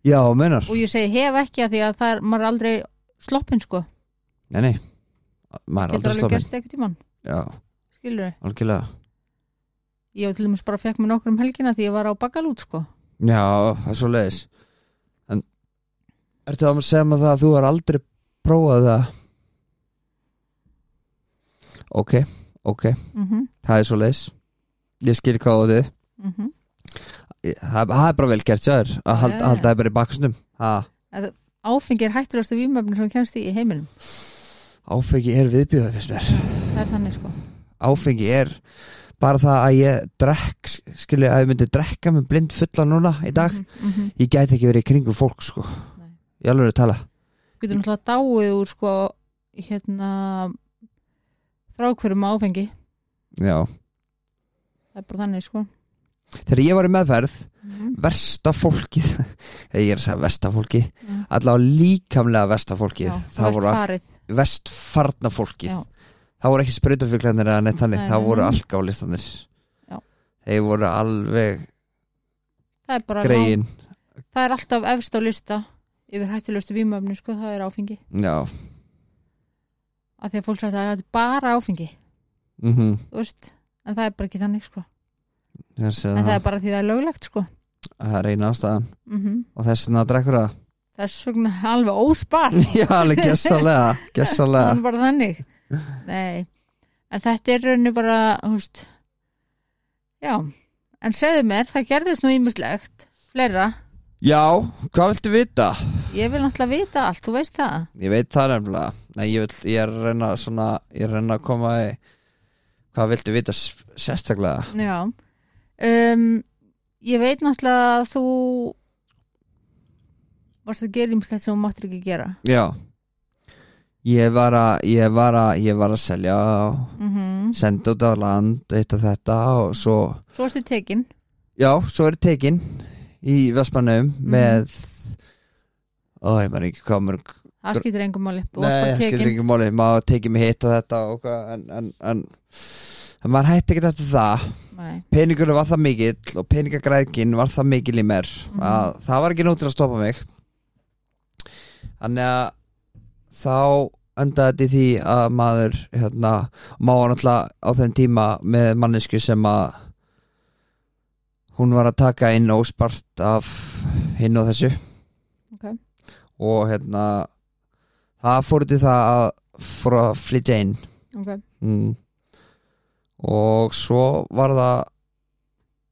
[SPEAKER 2] Já, munar,
[SPEAKER 1] og ég segi hef ekki að því að það er maður er aldrei sloppin sko,
[SPEAKER 2] nei, nei Maður
[SPEAKER 1] getur
[SPEAKER 2] er aldrei
[SPEAKER 1] alveg
[SPEAKER 2] slopin
[SPEAKER 1] gerst eitthvað tíman
[SPEAKER 2] Já,
[SPEAKER 1] skilur þau,
[SPEAKER 2] algjörlega
[SPEAKER 1] ég var til dæmis bara fekk mér nokkur um helgina því ég var á bakalút sko
[SPEAKER 2] Já, það er svo leiðis En Ertu það að segja maður það að þú er aldrei prófað það Ok, ok
[SPEAKER 1] mm -hmm,
[SPEAKER 2] Það er svo leiðis Ég skil hvað á þið
[SPEAKER 1] mm -hmm.
[SPEAKER 2] Ég- Það það er bara vel gert sjáður að halda,
[SPEAKER 1] Já, já.
[SPEAKER 2] halda það bara í bakasnum Ha,
[SPEAKER 1] áfengi er hættulegstu vímöfni sem kemst í í heiminum
[SPEAKER 2] áfengi er viðbjöða fyrst mér
[SPEAKER 1] það er þannig sko
[SPEAKER 2] áfengi er bara það að ég drekk skilja að ég myndi drekka með blind fulla núna í dag,
[SPEAKER 1] mm -hmm.
[SPEAKER 2] ég gæti ekki verið í kringum fólk sko,
[SPEAKER 1] Nei.
[SPEAKER 2] ég alveg er að tala
[SPEAKER 1] getur náttúrulega dáið úr sko hérna frá hverjum áfengi
[SPEAKER 2] já
[SPEAKER 1] það er bara þannig sko
[SPEAKER 2] þegar ég var í meðferð
[SPEAKER 1] mm.
[SPEAKER 2] versta fólkið <laughs> Nei, ég er að segja versta fólki allavega líkamlega versta fólkið það voru
[SPEAKER 1] farið
[SPEAKER 2] vestfarna fólkið
[SPEAKER 1] Já.
[SPEAKER 2] það voru ekki sprutafjöglandir eða neitt þannig
[SPEAKER 1] Nei,
[SPEAKER 2] það
[SPEAKER 1] nei,
[SPEAKER 2] voru
[SPEAKER 1] nei.
[SPEAKER 2] alkálistanir
[SPEAKER 1] Já.
[SPEAKER 2] þeir voru alveg
[SPEAKER 1] það er bara
[SPEAKER 2] greiðin
[SPEAKER 1] það er alltaf efst á lista yfir hættilegustu vímöfni sko, það er áfengi
[SPEAKER 2] já,
[SPEAKER 1] að því að fólk sagði að það er bara áfengi
[SPEAKER 2] mm -hmm.
[SPEAKER 1] þú veist, en það er bara ekki þannig sko en
[SPEAKER 2] það,
[SPEAKER 1] það
[SPEAKER 2] það,
[SPEAKER 1] er bara því það er löglegt sko
[SPEAKER 2] það er eina ástæðan
[SPEAKER 1] mm
[SPEAKER 2] og þess vegna drekkur það <laughs>
[SPEAKER 1] það er svona alveg óspart
[SPEAKER 2] já, alveg gessalega
[SPEAKER 1] það
[SPEAKER 2] gessalega
[SPEAKER 1] er bara þannig nei, en þetta er rauninu bara þú veist já, en segðu mér, það gerðist nú ímislegt, fleira
[SPEAKER 2] já, hvað viltu vita?
[SPEAKER 1] ég vil náttúrulega vita allt, þú veist það
[SPEAKER 2] ég veit það nefnilega Nei, ég, vil, ég er að reyna svona ég er að reyna að koma í hvað viltu vita s- sérstaklega
[SPEAKER 1] Já um, Ég veit náttúrulega að þú varst að gera ímslegt sem þú máttir ekki gera
[SPEAKER 2] já ég var að ég var að, ég var að selja og
[SPEAKER 1] mm
[SPEAKER 2] senda út á land eitt og þetta og svo
[SPEAKER 1] Svo varstu tekin
[SPEAKER 2] já, svo er tekin í Vestmannum með ó, ég maður ekki hvað mörg
[SPEAKER 1] Það skiptir engum máli Þú varst
[SPEAKER 2] nei,
[SPEAKER 1] bara
[SPEAKER 2] það skilur
[SPEAKER 1] tekin.
[SPEAKER 2] ekki máli, maður tekið mig hitt og þetta og hvað, en, en, en, en maður hætti ekkert eftir það
[SPEAKER 1] Nei.
[SPEAKER 2] peningur var það mikill og peningagræðkin var það mikill í mér að það var ekki nóg til að stoppa mig þannig að þá endaði þetta í því að maður hérna, máður náttúrulega á þeim tíma með mannesku sem að hún var að taka inn óspart af hinn og þessu
[SPEAKER 1] Ok.
[SPEAKER 2] og hérna það fór til það að fór að flytja inn
[SPEAKER 1] Ok.
[SPEAKER 2] mm. og svo var það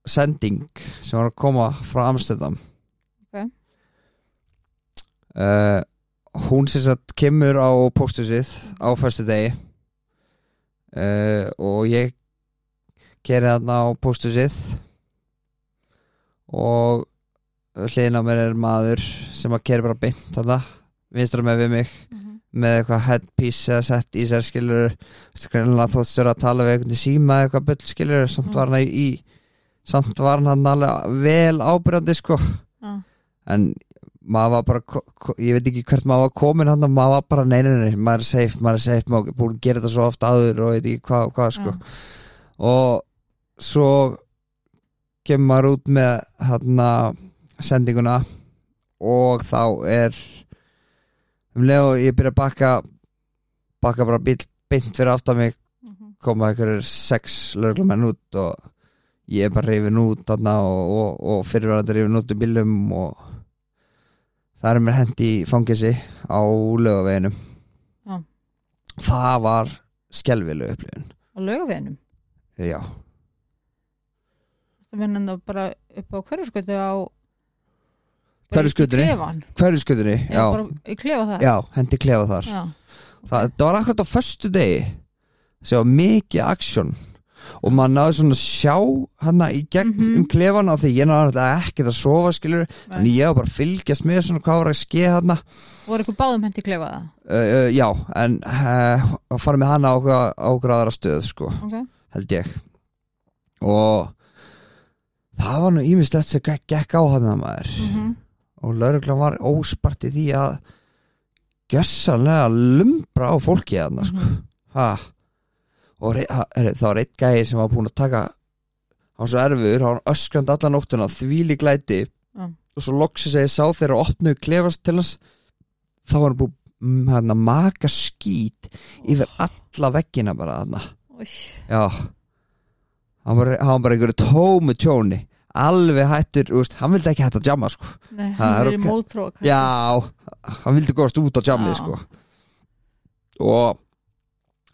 [SPEAKER 2] sending sem var að koma frá Amsterdam
[SPEAKER 1] Ok.
[SPEAKER 2] Eh, hún sem sagt kemur á pósthúsið á fyrstu degi og ég gerði þarna á pósthúsið og hliðin á mér er maður sem að keri bara beint þarna vinstra með við mig
[SPEAKER 1] Mhm.
[SPEAKER 2] með eitthvað headpiece eða sett í sér skilur skrinlega þóttst vera að tala við einhvern í síma eða eitthvað bull skilur samt
[SPEAKER 1] Mm.
[SPEAKER 2] var hann í samt var hann alveg vel ábyrjandi sko
[SPEAKER 1] Já.
[SPEAKER 2] en maður var bara ko- ko- ég veit ekki hvert maður var komin hann maður var bara neyninni, maður er safe maður er safe, maður er búin að gera þetta svo oft áður og ég veit ekki hvað, og hvað sko
[SPEAKER 1] Já.
[SPEAKER 2] og svo kemur maður út með þarna sendinguna og þá er um leið og ég byrja að bakka bakka bara bíl beint fyrir aftan mig
[SPEAKER 1] Mhm.
[SPEAKER 2] koma einhverjir sex löglumenn út og ég er bara reyfin út þarna og, og, og fyrirverandi reyfin út í bílum og það er mér hendi í fangisi á lögaveginum
[SPEAKER 1] Já.
[SPEAKER 2] það var skelvileg upplifun
[SPEAKER 1] Á laugaveginum
[SPEAKER 2] já,
[SPEAKER 1] Það minna þá bara upp á hverju skutu á
[SPEAKER 2] Hverju skutunni?
[SPEAKER 1] Í klefan
[SPEAKER 2] hverju
[SPEAKER 1] Já,
[SPEAKER 2] skutinni? Já,
[SPEAKER 1] bara í klefa það
[SPEAKER 2] já, hendi klefa þar
[SPEAKER 1] Já.
[SPEAKER 2] það, það var akkurat á föstu degi sem var mikið aksjón og maður náði svona að sjá hana í gegn
[SPEAKER 1] Mhm.
[SPEAKER 2] um klefana því ég náði náttúrulega ekkert að sofa skilur þannig ég var bara að fylgjast með svona hvað var að skeða hana
[SPEAKER 1] Voru ykkur báðum hendi í klefa það
[SPEAKER 2] uh, uh, já, en uh, að fara með hana á okkur, á okkur aðra stöð sko,
[SPEAKER 1] okay.
[SPEAKER 2] held ég og það var nú ímislegt sem gekk, gekk á hana maður
[SPEAKER 1] mm
[SPEAKER 2] og lauruglan var óspart í því að gjössanlega lumbra á fólki hana sko.
[SPEAKER 1] Mhm.
[SPEAKER 2] ha. og rey, ha, er, það var eitt gæði sem var búin að taka hann var svo erfur, hann var öskrandi alla nóttuna þvíli glæti
[SPEAKER 1] Já.
[SPEAKER 2] og svo loksins að ég sá þeirra opnu klefast til hans þá var hann búin mm, hann að maka skít yfir alla veggina bara hann já hann var, hann var bara einhverju tómu tjóni alveg hættur, úst, hann vildi ekki hætt að jamma sko.
[SPEAKER 1] Nei,
[SPEAKER 2] Það
[SPEAKER 1] það er
[SPEAKER 2] er ok.
[SPEAKER 1] mótrók
[SPEAKER 2] já, hann vildi góðast út á jammið
[SPEAKER 1] Já.
[SPEAKER 2] sko. og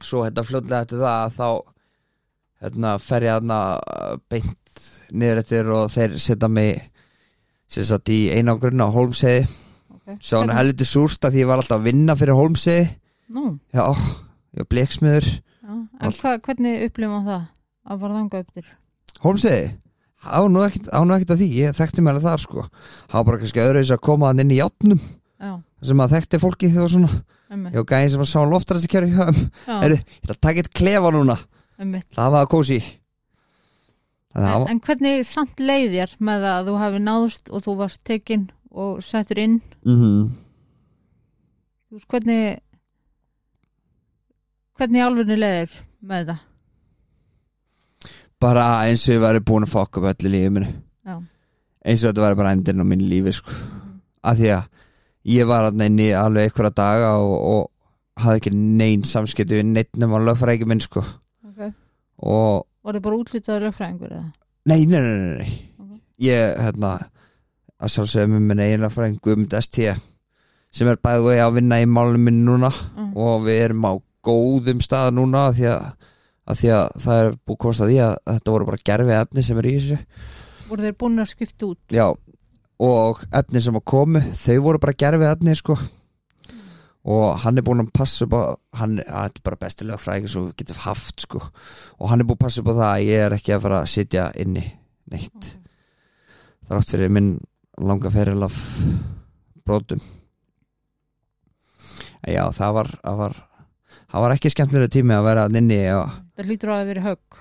[SPEAKER 2] svo hérna fljóðlega eftir það þá hérna, fer ég hérna uh, beint niður eftir og þeir setja mig sem sagt í einangrun á Holmseiði
[SPEAKER 1] okay.
[SPEAKER 2] svo
[SPEAKER 1] Hvernig-
[SPEAKER 2] hann er helviti súrt að því ég var alltaf að vinna fyrir Holmseiði
[SPEAKER 1] Nú,
[SPEAKER 2] já, ég var bleksmiður
[SPEAKER 1] já. en hva, hvernig upplifum það að fara þangað upp til?
[SPEAKER 2] Holmseiði á nú ekkert á nú ekkert að því, ég þekkti mér að það sko það var bara kannski öðru að koma hann inn í játnum
[SPEAKER 1] já,
[SPEAKER 2] sem að þekkti fólki þegar svona
[SPEAKER 1] emmitt
[SPEAKER 2] ég og gæði sem að sá loftarast í kæru hjá þeim.
[SPEAKER 1] já,
[SPEAKER 2] Heyrðu, ég ætla að taka eitt klefa núna
[SPEAKER 1] emmitt
[SPEAKER 2] það var að kósi þannig að það
[SPEAKER 1] en,
[SPEAKER 2] var
[SPEAKER 1] en hvernig samt leið þér með að þú hafi náðst og þú varst tekinn og settur inn
[SPEAKER 2] mhm.
[SPEAKER 1] þú veist hvernig hvernig alveg leið þér með þetta
[SPEAKER 2] bara eins og ég væri búin að fokka upp öllu lífið minni
[SPEAKER 1] Já.
[SPEAKER 2] eins og þetta væri bara endurinn á mínu lífi sko. af því að ég var hann inn í alveg einhverja daga og, og hafði ekki neinn samskipti við neitt nema lögfrækjum minn sko.
[SPEAKER 1] okay.
[SPEAKER 2] og
[SPEAKER 1] var þið bara útlitaður lögfræðingur eða
[SPEAKER 2] nei, nei, nei, nei, nei.
[SPEAKER 1] Ok.
[SPEAKER 2] ég, hérna að sjálfsögum með minn eiginlega fræðin Guðmund ST sem er bæðið vegi að vinna í málum minn núna
[SPEAKER 1] Mm.
[SPEAKER 2] og við erum á góðum stað núna af því að, að, því að það er búið komst að því að þetta voru bara gerfi efni sem er í þessu
[SPEAKER 1] voru þeir búin að skipta út
[SPEAKER 2] Já, og efni sem að komu þau voru bara gerfið efni sko. og hann er búin að passa upp á hann að þetta er bara besti lögfræðing sem við getum haft sko. og hann er búin að passa upp á það að ég er ekki að fara að sitja inni neitt þrátt fyrir minn langa feril af brotum En Já, það var, það var það var ekki skemmtilega tími að vera þarna inni og
[SPEAKER 1] það lítur á að vera högg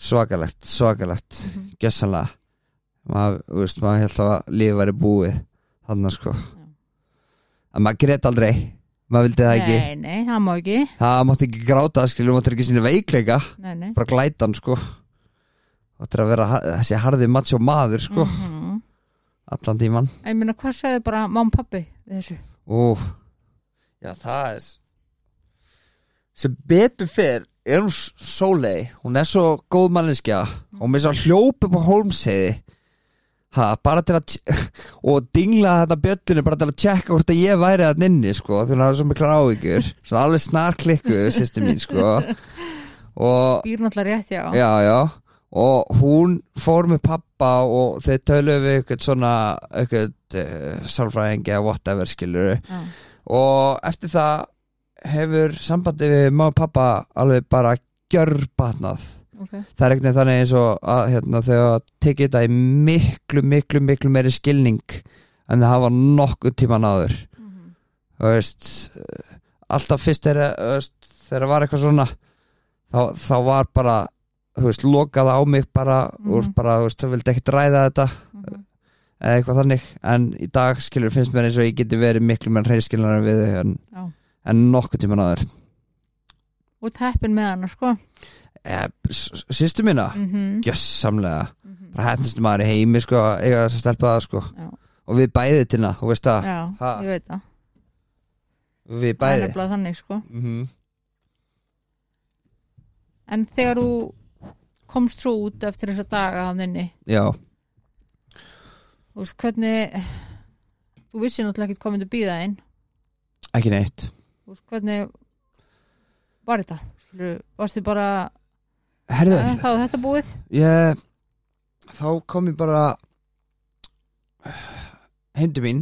[SPEAKER 2] svakalegt, svakalegt
[SPEAKER 1] Mhm.
[SPEAKER 2] gjössanlega maður, þú veist, maður held að lífið væri búið þannig sko en maður grét aldrei, maður vildi það ekki
[SPEAKER 1] nei, nei, það má ekki
[SPEAKER 2] það mátti ekki gráta, skilur, mátti ekki sína veikleika
[SPEAKER 1] nei, nei.
[SPEAKER 2] bara glætan sko þetta er að vera ha- þessi harði macho maður sko
[SPEAKER 1] Mhm.
[SPEAKER 2] allan tíman
[SPEAKER 1] En ég meina, hvað sagði bara mám pappi við þessu?
[SPEAKER 2] Ú, já það er sem betur fyrr er hún s- Sóley hún er svo góð manneskja og með svo hljóp upp á Holmsheiði ha, bara til að t- <laughs> og dingla þetta bjöllinu bara til að tjekka hvort að ég væri að nynni sko, því hún hafði svo miklar ávíkjur svo alveg snarklikku, sýsti mín sko og
[SPEAKER 1] Býr náttúrulega rétt, já.
[SPEAKER 2] já, já og hún fór með pappa og þau töluðu við eitthvað svona eitthvað uh, sálfræðingi eða whatever skilur
[SPEAKER 1] Já.
[SPEAKER 2] og eftir það hefur sambandi við má og pappa alveg bara gjörbatnað
[SPEAKER 1] Ok,
[SPEAKER 2] það er ekkert veginn þannig eins og að hérna, þau hafa tekið þetta í miklu, miklu, miklu meiri skilning en það hafa nokkuð tíma náður
[SPEAKER 1] Mhm.
[SPEAKER 2] þú veist eh, alltaf fyrst þegar þú veist, þegar var eitthvað svona þá, þá var bara þú veist, lokað á mig bara,
[SPEAKER 1] Mhm.
[SPEAKER 2] mm. úr bara þú veist, það vildi ekkert ræða þetta
[SPEAKER 1] Mhm.
[SPEAKER 2] eða eitthvað þannig, en í dag skilur finnst mér eins og ég geti verið miklu menn reynskilnar við þau en,
[SPEAKER 1] Já.
[SPEAKER 2] en nokkuð tíma náður
[SPEAKER 1] Og teppin með hana, sko.
[SPEAKER 2] e, sýstu mína, mm.
[SPEAKER 1] Mm -hmm.
[SPEAKER 2] gjössamlega
[SPEAKER 1] Mhm.
[SPEAKER 2] bara hættistum maður í heimi sko, eiga þess að stelpa það sko
[SPEAKER 1] Já.
[SPEAKER 2] og við bæði tina, þú veist það
[SPEAKER 1] Já,
[SPEAKER 2] Ha.
[SPEAKER 1] ég veit það.
[SPEAKER 2] við
[SPEAKER 1] Það er
[SPEAKER 2] bæði
[SPEAKER 1] nefnilega þannig, sko.
[SPEAKER 2] mm -hmm.
[SPEAKER 1] En þegar þú komst svo út eftir þessa daga að þinni,
[SPEAKER 2] já,
[SPEAKER 1] þú veist, hvernig, þú vissi náttúrulega ekkert hvað myndi býða einn,
[SPEAKER 2] ekki neitt
[SPEAKER 1] þú veist, hvernig var þetta? Skilur, varstu bara,
[SPEAKER 2] herðu,
[SPEAKER 1] "Eh, þá er þetta búið?
[SPEAKER 2] ég, þá kom ég bara hindi mín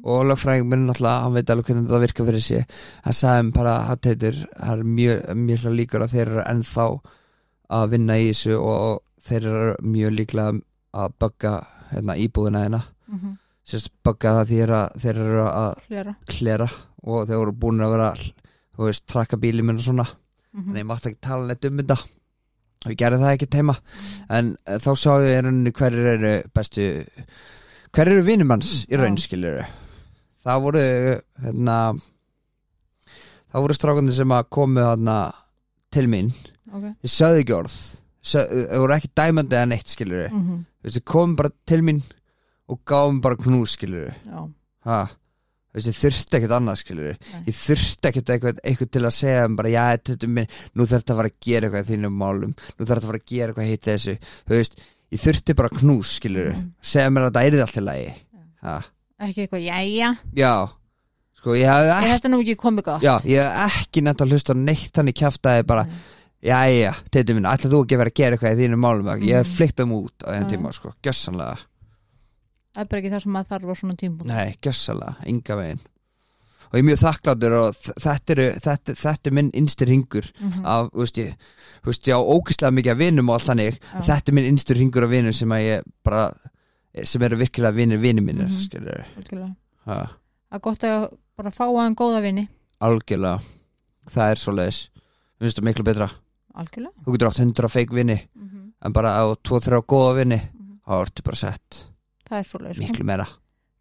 [SPEAKER 2] og lögfræðing minn náttúrulega, hann veit alveg hvernig þetta virkar fyrir sig hann sagði mér bara, hann teitur það er mjög, mjög líkur að þeir eru ennþá að vinna í þessu og þeir eru mjög líklega að bögga hérna, íbúðina hérna
[SPEAKER 1] Mm -hmm.
[SPEAKER 2] sérst bögga það því er að þeir eru að
[SPEAKER 1] Flera.
[SPEAKER 2] klera og þeir voru búin að vera þú veist, trakka bíli minn og svona
[SPEAKER 1] Mm
[SPEAKER 2] en ég mátti ekki tala neitt um þetta og ég gerði það ekki teima en uh, þá sá ég í rauninni hverjir eru bestu hverjir eru vinum hans í raun
[SPEAKER 1] Já.
[SPEAKER 2] skilur það voru hérna, það voru strákandi sem að komu þarna til mín
[SPEAKER 1] Ok.
[SPEAKER 2] ég sögði ekki orð Sög, þau voru ekki dæmandi eða neitt skilur mm.
[SPEAKER 1] Mm -hmm.
[SPEAKER 2] þessi komu bara til mín og gáum bara knús skilur
[SPEAKER 1] Já.
[SPEAKER 2] ha Þessi, þurfti ekkert annað skilur
[SPEAKER 1] Nei.
[SPEAKER 2] ég þurfti ekkert eitthvað, eitthvað til að segja um bara, já, þetta er minn, nú þarf þetta að fara að gera eitthvað í þínum málum, nú þarf þetta að fara að gera eitthvað hitt þessu, þú veist, ég þurfti bara knús skilur,
[SPEAKER 1] Mhm.
[SPEAKER 2] segja mér að þetta er allt í lagi ha.
[SPEAKER 1] Ekki eitthvað, jæja,
[SPEAKER 2] já, sko, ég hafði
[SPEAKER 1] er
[SPEAKER 2] ekki
[SPEAKER 1] þetta nú ekki komið gott?
[SPEAKER 2] já, ég hafði ekki nefnt að hlusta á neitt þannig kjaftaði bara,
[SPEAKER 1] Nei.
[SPEAKER 2] já, já, þetta minn ætla þú ekki að vera að gera eitthvað í þínum málum ég hafði
[SPEAKER 1] Mhm.
[SPEAKER 2] flykt um út á
[SPEAKER 1] Já,
[SPEAKER 2] einn
[SPEAKER 1] já.
[SPEAKER 2] tíma, sko, gjössanlega
[SPEAKER 1] það er bara ekki það sem maður þarf á svona tímpun
[SPEAKER 2] Nei, gjössalega, enga veginn Og ég er mjög þakkláttur og þ- þetta er, þetta, þetta er minn innstir ringur
[SPEAKER 1] Mhm.
[SPEAKER 2] af, þú veist ég, þú veist ég á ógislega mikið af vinum og allt þannig
[SPEAKER 1] Já.
[SPEAKER 2] Þetta er minn innstir ringur af vinum sem að ég bara sem eru virkilega vinir vinir mínir, mm
[SPEAKER 1] Mhm.
[SPEAKER 2] skilur
[SPEAKER 1] algjörlega
[SPEAKER 2] ha.
[SPEAKER 1] það er gott að bara fá aðeins góða vini
[SPEAKER 2] algjörlega það er svo leiðis, við finnst það miklu betra
[SPEAKER 1] algjörlega
[SPEAKER 2] þú getur átt 100 feik vini
[SPEAKER 1] mm
[SPEAKER 2] en bara á 2-3 góða vini
[SPEAKER 1] Mhm.
[SPEAKER 2] þá ertu bara sett
[SPEAKER 1] það er svoleið sko.
[SPEAKER 2] miklu meira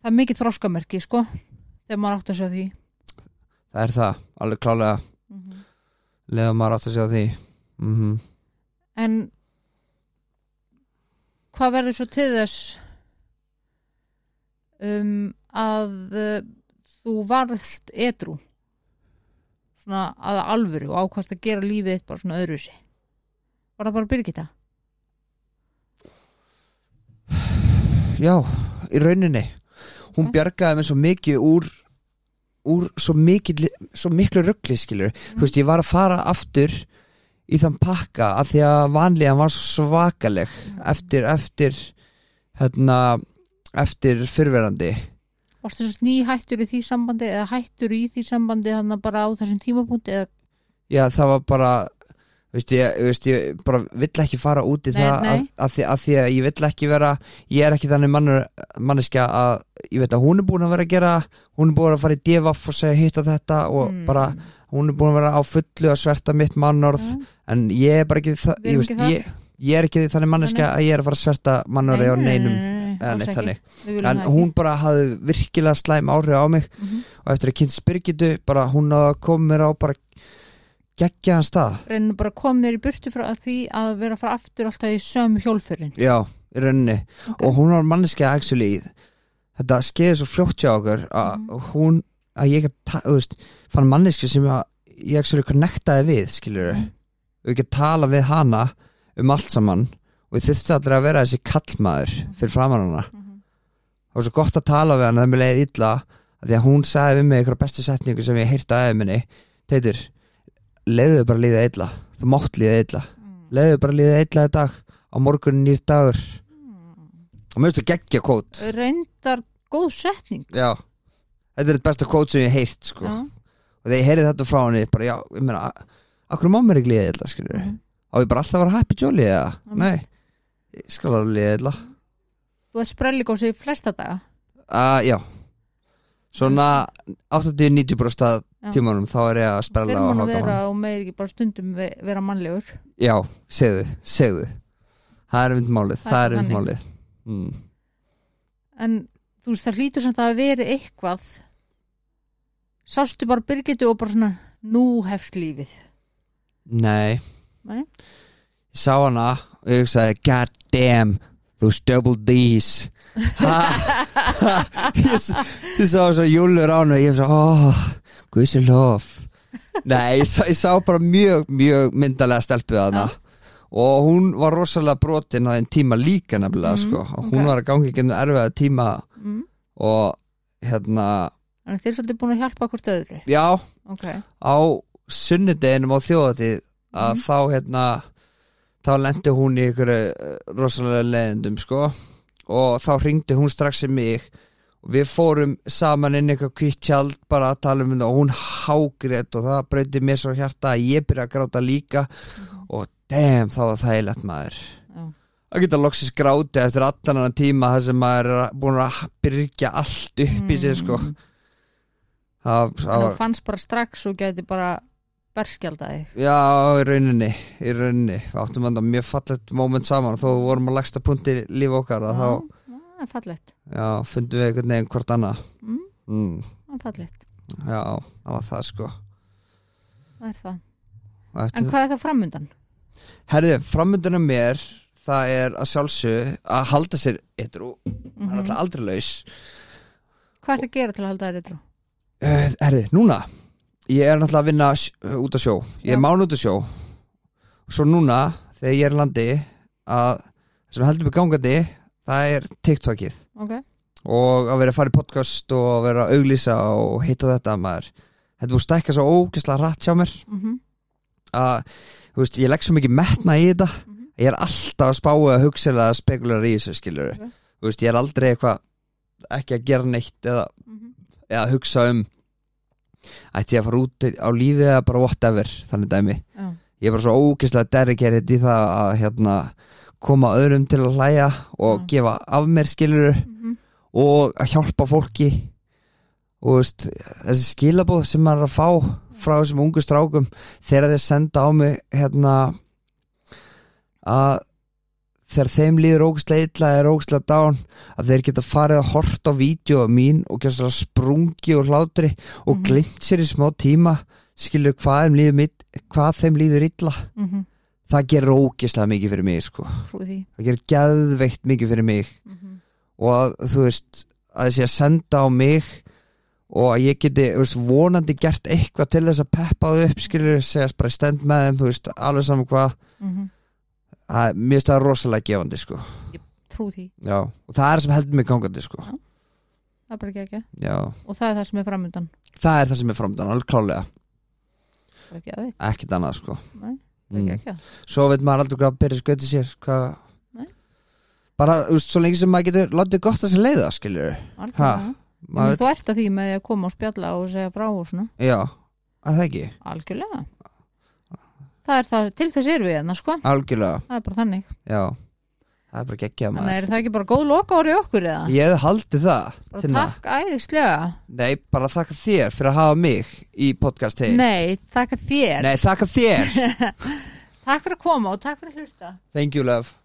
[SPEAKER 1] það er mikið þroskamerki sko þegar maður átt að segja því
[SPEAKER 2] það er það, alveg klálega
[SPEAKER 1] mm
[SPEAKER 2] Mhm. leiða maður átt að segja því mm
[SPEAKER 1] en hvað verður svo til þess um, að uh, þú varðst edru svona að alvöru og ákvæmst að gera lífið þitt bara svona öðruvísi var það bara Birgitta?
[SPEAKER 2] já, í rauninni hún bjargaði mér svo mikið úr úr svo, mikil, svo miklu ruggli skilur þú veist, ég var að fara aftur í þann pakka af því að vanlega var svo svakaleg eftir, eftir hérna, eftir fyrverandi
[SPEAKER 1] Varstu svo sný hættur í því sambandi eða hættur í því sambandi þannig að bara á þessum tímapunkti eða
[SPEAKER 2] Já, það var bara þú veist, ég, þú veist, ég bara vill ekki fara út í
[SPEAKER 1] Nei,
[SPEAKER 2] það
[SPEAKER 1] nei.
[SPEAKER 2] Að, að, því, að því að ég vill ekki vera ég er ekki þannig mannur, manneskja að ég veit að hún er búin að vera að gera hún er búin að fara í devaf og segja hitt og þetta og
[SPEAKER 1] Mm.
[SPEAKER 2] bara hún er búin að vera á fullu að sverta mitt mannorð
[SPEAKER 1] Mm.
[SPEAKER 2] en ég er bara ekki,
[SPEAKER 1] Við
[SPEAKER 2] það, ég,
[SPEAKER 1] erum
[SPEAKER 2] veist,
[SPEAKER 1] ekki það.
[SPEAKER 2] ég, ég er ekki þannig manneskja að ég er að fara að sverta mannorði á neinum eða
[SPEAKER 1] alls
[SPEAKER 2] neitt
[SPEAKER 1] ekki.
[SPEAKER 2] þannig
[SPEAKER 1] Við viljum
[SPEAKER 2] en
[SPEAKER 1] það
[SPEAKER 2] hún bara hafði virkilega slæm áhrif á mig
[SPEAKER 1] ekki. Mhm.
[SPEAKER 2] og eftir að kynst Birgitu bara hún náði að koma mér á bara geggjaðan stað
[SPEAKER 1] reynir bara að koma þér í burtu frá því að vera að fara aftur alltaf í sömu hjólförin
[SPEAKER 2] Já, í rauninni
[SPEAKER 1] Ok.
[SPEAKER 2] og hún var manneskja actually þetta skeiði svo fljótt hjá okkur að
[SPEAKER 1] Mhm.
[SPEAKER 2] hún, að ég gat ta- þú veist, fann manneskju sem að ég actually connectaði við, skilur
[SPEAKER 1] Mhm.
[SPEAKER 2] og ég get tala við hana um allt saman og ég þurfti allir að vera þessi kallmaður fyrir framan hana
[SPEAKER 1] Mhm.
[SPEAKER 2] það var svo gott að tala við hana þegar mér leiði illa af því að hún sagði við mig einhverja bestu setningu sem ég heyrti aðeins minni Teitur, leiðu þér bara að líða illa þú mátt líða illa
[SPEAKER 1] Mhm.
[SPEAKER 2] leiðu þér bara að líða illa í dag á morgun nýr dagur
[SPEAKER 1] Mhm.
[SPEAKER 2] og mér finnst það geggja kvót
[SPEAKER 1] reyndar góð setning
[SPEAKER 2] já. þetta er þetta besta kvót sem ég hef heyrt sko.
[SPEAKER 1] já,
[SPEAKER 2] og þegar ég heyrði þetta frá henni bara já, ég meina, a- af hverju má mér ekki liða illa skilur
[SPEAKER 1] Mhm.
[SPEAKER 2] á ég bara alltaf að vera happy jolly eða,
[SPEAKER 1] Einmitt.
[SPEAKER 2] nei, ég skal alveg liða illa
[SPEAKER 1] þú ert sprelligósi í flesta daga
[SPEAKER 2] uh, já svona 80-90% af
[SPEAKER 1] Já.
[SPEAKER 2] tímanum þá er ég
[SPEAKER 1] fyrir
[SPEAKER 2] að sprella og
[SPEAKER 1] mann að vera
[SPEAKER 2] haka mann
[SPEAKER 1] og meir ekki bara stundum ve- vera mannlegur
[SPEAKER 2] já, segðu, segðu það er vindmálið,
[SPEAKER 1] Það
[SPEAKER 2] það
[SPEAKER 1] er
[SPEAKER 2] er
[SPEAKER 1] þannig.
[SPEAKER 2] vindmálið mm.
[SPEAKER 1] en þú veist það hlýtur samt að hafa verið eitthvað sástu bara Birgitu og bara svona nú hefst lífið
[SPEAKER 2] nei
[SPEAKER 1] Nei?
[SPEAKER 2] ég sá hana og ég hugsaði god damn, those double D's ha, <laughs> ha, ég, s- ég sá svo júlur á hana og ég sá, oh, guðsi lof nei, ég sá, ég sá bara mjög, mjög myndalega stelpuð hana og hún var rosalega brotin að þeim tíma líka nefnilega
[SPEAKER 1] Mm,
[SPEAKER 2] sko, og
[SPEAKER 1] ok.
[SPEAKER 2] hún var að gangi ekki erfiða tíma
[SPEAKER 1] mm.
[SPEAKER 2] og hérna,
[SPEAKER 1] en þið er svolítið búin að hjálpa hvort öðru
[SPEAKER 2] já
[SPEAKER 1] ok,
[SPEAKER 2] á sunnudeginum á þjóðatíð að
[SPEAKER 1] Mhm.
[SPEAKER 2] þá hérna þá lendi hún í ykkur rosalega leiðendum sko og þá ringdi hún strax í mig og við fórum saman inn í eitthvað kvitt tjald bara að tala um þetta og hún hágrét og það breytti mér svo hjarta að ég byrja að gráta líka og damn þá var þægilegt maður
[SPEAKER 1] Mhm. já,
[SPEAKER 2] að geta loksins gráti eftir allan annan tíma þar sem maður er búin að byrja allt upp í sig sko
[SPEAKER 1] Mm.
[SPEAKER 2] það, það
[SPEAKER 1] en
[SPEAKER 2] var
[SPEAKER 1] þú fannst bara strax og gæti bara berskjaldaði
[SPEAKER 2] Já, í rauninni, í rauninni Við áttum enda mjög fallegt moment saman þó við vorum að lagsta punkti líf okkar að þá,
[SPEAKER 1] það er fallegt
[SPEAKER 2] já, fundum við einhvern veginn hvort annað
[SPEAKER 1] mm,
[SPEAKER 2] mm,
[SPEAKER 1] það er fallegt,
[SPEAKER 2] Já, það var það sko
[SPEAKER 1] það er það
[SPEAKER 2] Og eftir
[SPEAKER 1] en hvað er þá framundan?
[SPEAKER 2] það- Herðu, framöndunum mér það er að sjálfsög að halda sér eitthrú, mm
[SPEAKER 1] Mm
[SPEAKER 2] hann er alltaf aldrei laus
[SPEAKER 1] hvað er það að gera til að halda þér eitthvað?
[SPEAKER 2] uh, Herðu, núna ég er náttúrulega að vinna sj- út á sjó ég
[SPEAKER 1] Já.
[SPEAKER 2] er mán út á sjó Svo núna, þegar ég er í landi að, sem heldur mig gangandi það er TikTokið
[SPEAKER 1] ok,
[SPEAKER 2] og að vera að fara í podcast og að vera að auglýsa og hitt og þetta maður þetta búið að stækka svo ógeðslega rætt hjá mér
[SPEAKER 1] mm -hmm.
[SPEAKER 2] að, þú veist, ég legg svo mikið metna í þetta
[SPEAKER 1] Mhm.
[SPEAKER 2] ég er alltaf að spáu að hugsa eða að spekulara í þessu skilur
[SPEAKER 1] Ok.
[SPEAKER 2] þú veist, ég er aldrei eitthvað ekki að gera neitt eða,
[SPEAKER 1] Mhm.
[SPEAKER 2] eða að hugsa um ætti ég að fara út á lífið eða bara whatever, þannig dæmi
[SPEAKER 1] já,
[SPEAKER 2] ég er bara svo ógeðslega derrikerið í það að hérna, koma öðrum til að hlæja og
[SPEAKER 1] Já. Mhm.
[SPEAKER 2] gefa af mér skilur
[SPEAKER 1] mm -hmm.
[SPEAKER 2] og að hjálpa fólki og veist, þessi skilabóð sem maður er að fá frá þessum ungu strákum þegar þeir senda á mig hérna að þegar þeim líður ógstlega illa eða er ógstlega dán að þeir geta farið að horta á vídeo mín og gjössalega sprungi og hlátri og
[SPEAKER 1] Mhm.
[SPEAKER 2] glimt sér í smá tíma skilur hvað þeim líður, mitt, hvað þeim líður illa
[SPEAKER 1] mm -hmm.
[SPEAKER 2] það gerir ógislega mikið fyrir mig sko.
[SPEAKER 1] trúi því
[SPEAKER 2] það gerir geðveikt mikið fyrir mig
[SPEAKER 1] mm -hmm.
[SPEAKER 2] og að þú veist að þessi að senda á mig og að ég geti þú veist, vonandi gert eitthvað til þess að peppa þau upp skilur segjast bara stend með þeim þú veist, alveg saman hvað
[SPEAKER 1] Mhm.
[SPEAKER 2] það, er- mér finnst það rosalega gefandi sko.
[SPEAKER 1] trúi því,
[SPEAKER 2] Já. og það er það sem heldur mig gangandi sko.
[SPEAKER 1] það er bara ekki ekki
[SPEAKER 2] Já.
[SPEAKER 1] og það er það sem er framöndan
[SPEAKER 2] það er það sem er framdann, alveg klálega
[SPEAKER 1] bara ekki að veit,
[SPEAKER 2] ekkert annað sko.
[SPEAKER 1] Nei, bara ekki
[SPEAKER 2] mm.
[SPEAKER 1] ekki að
[SPEAKER 2] svo veit maður aldrei hvað að byrja sköti sér hvað
[SPEAKER 1] Nei.
[SPEAKER 2] bara þú veist, svo lengi sem maður getur látið gott að sér leiða skilur
[SPEAKER 1] algjörlega,
[SPEAKER 2] maður,
[SPEAKER 1] Maður... þú ert að því með því að koma og spjalla og segja frá og svona,
[SPEAKER 2] já, að það ekki
[SPEAKER 1] algjörlega það er það, til þess erum við hérna sko,
[SPEAKER 2] algjörlega,
[SPEAKER 1] það er bara þannig
[SPEAKER 2] já það er bara geggjað maður
[SPEAKER 1] þannig er það ekki bara góð loka orðið okkur eða
[SPEAKER 2] Ég hefði haldið það
[SPEAKER 1] bara
[SPEAKER 2] Tinna.
[SPEAKER 1] takk æðislega
[SPEAKER 2] Nei, bara þakka þér fyrir að hafa mig í podcast heim
[SPEAKER 1] nei, takk að þér
[SPEAKER 2] Nei, þakka þér
[SPEAKER 1] <laughs> takk fyrir að koma og takk fyrir að hlusta
[SPEAKER 2] Thank you love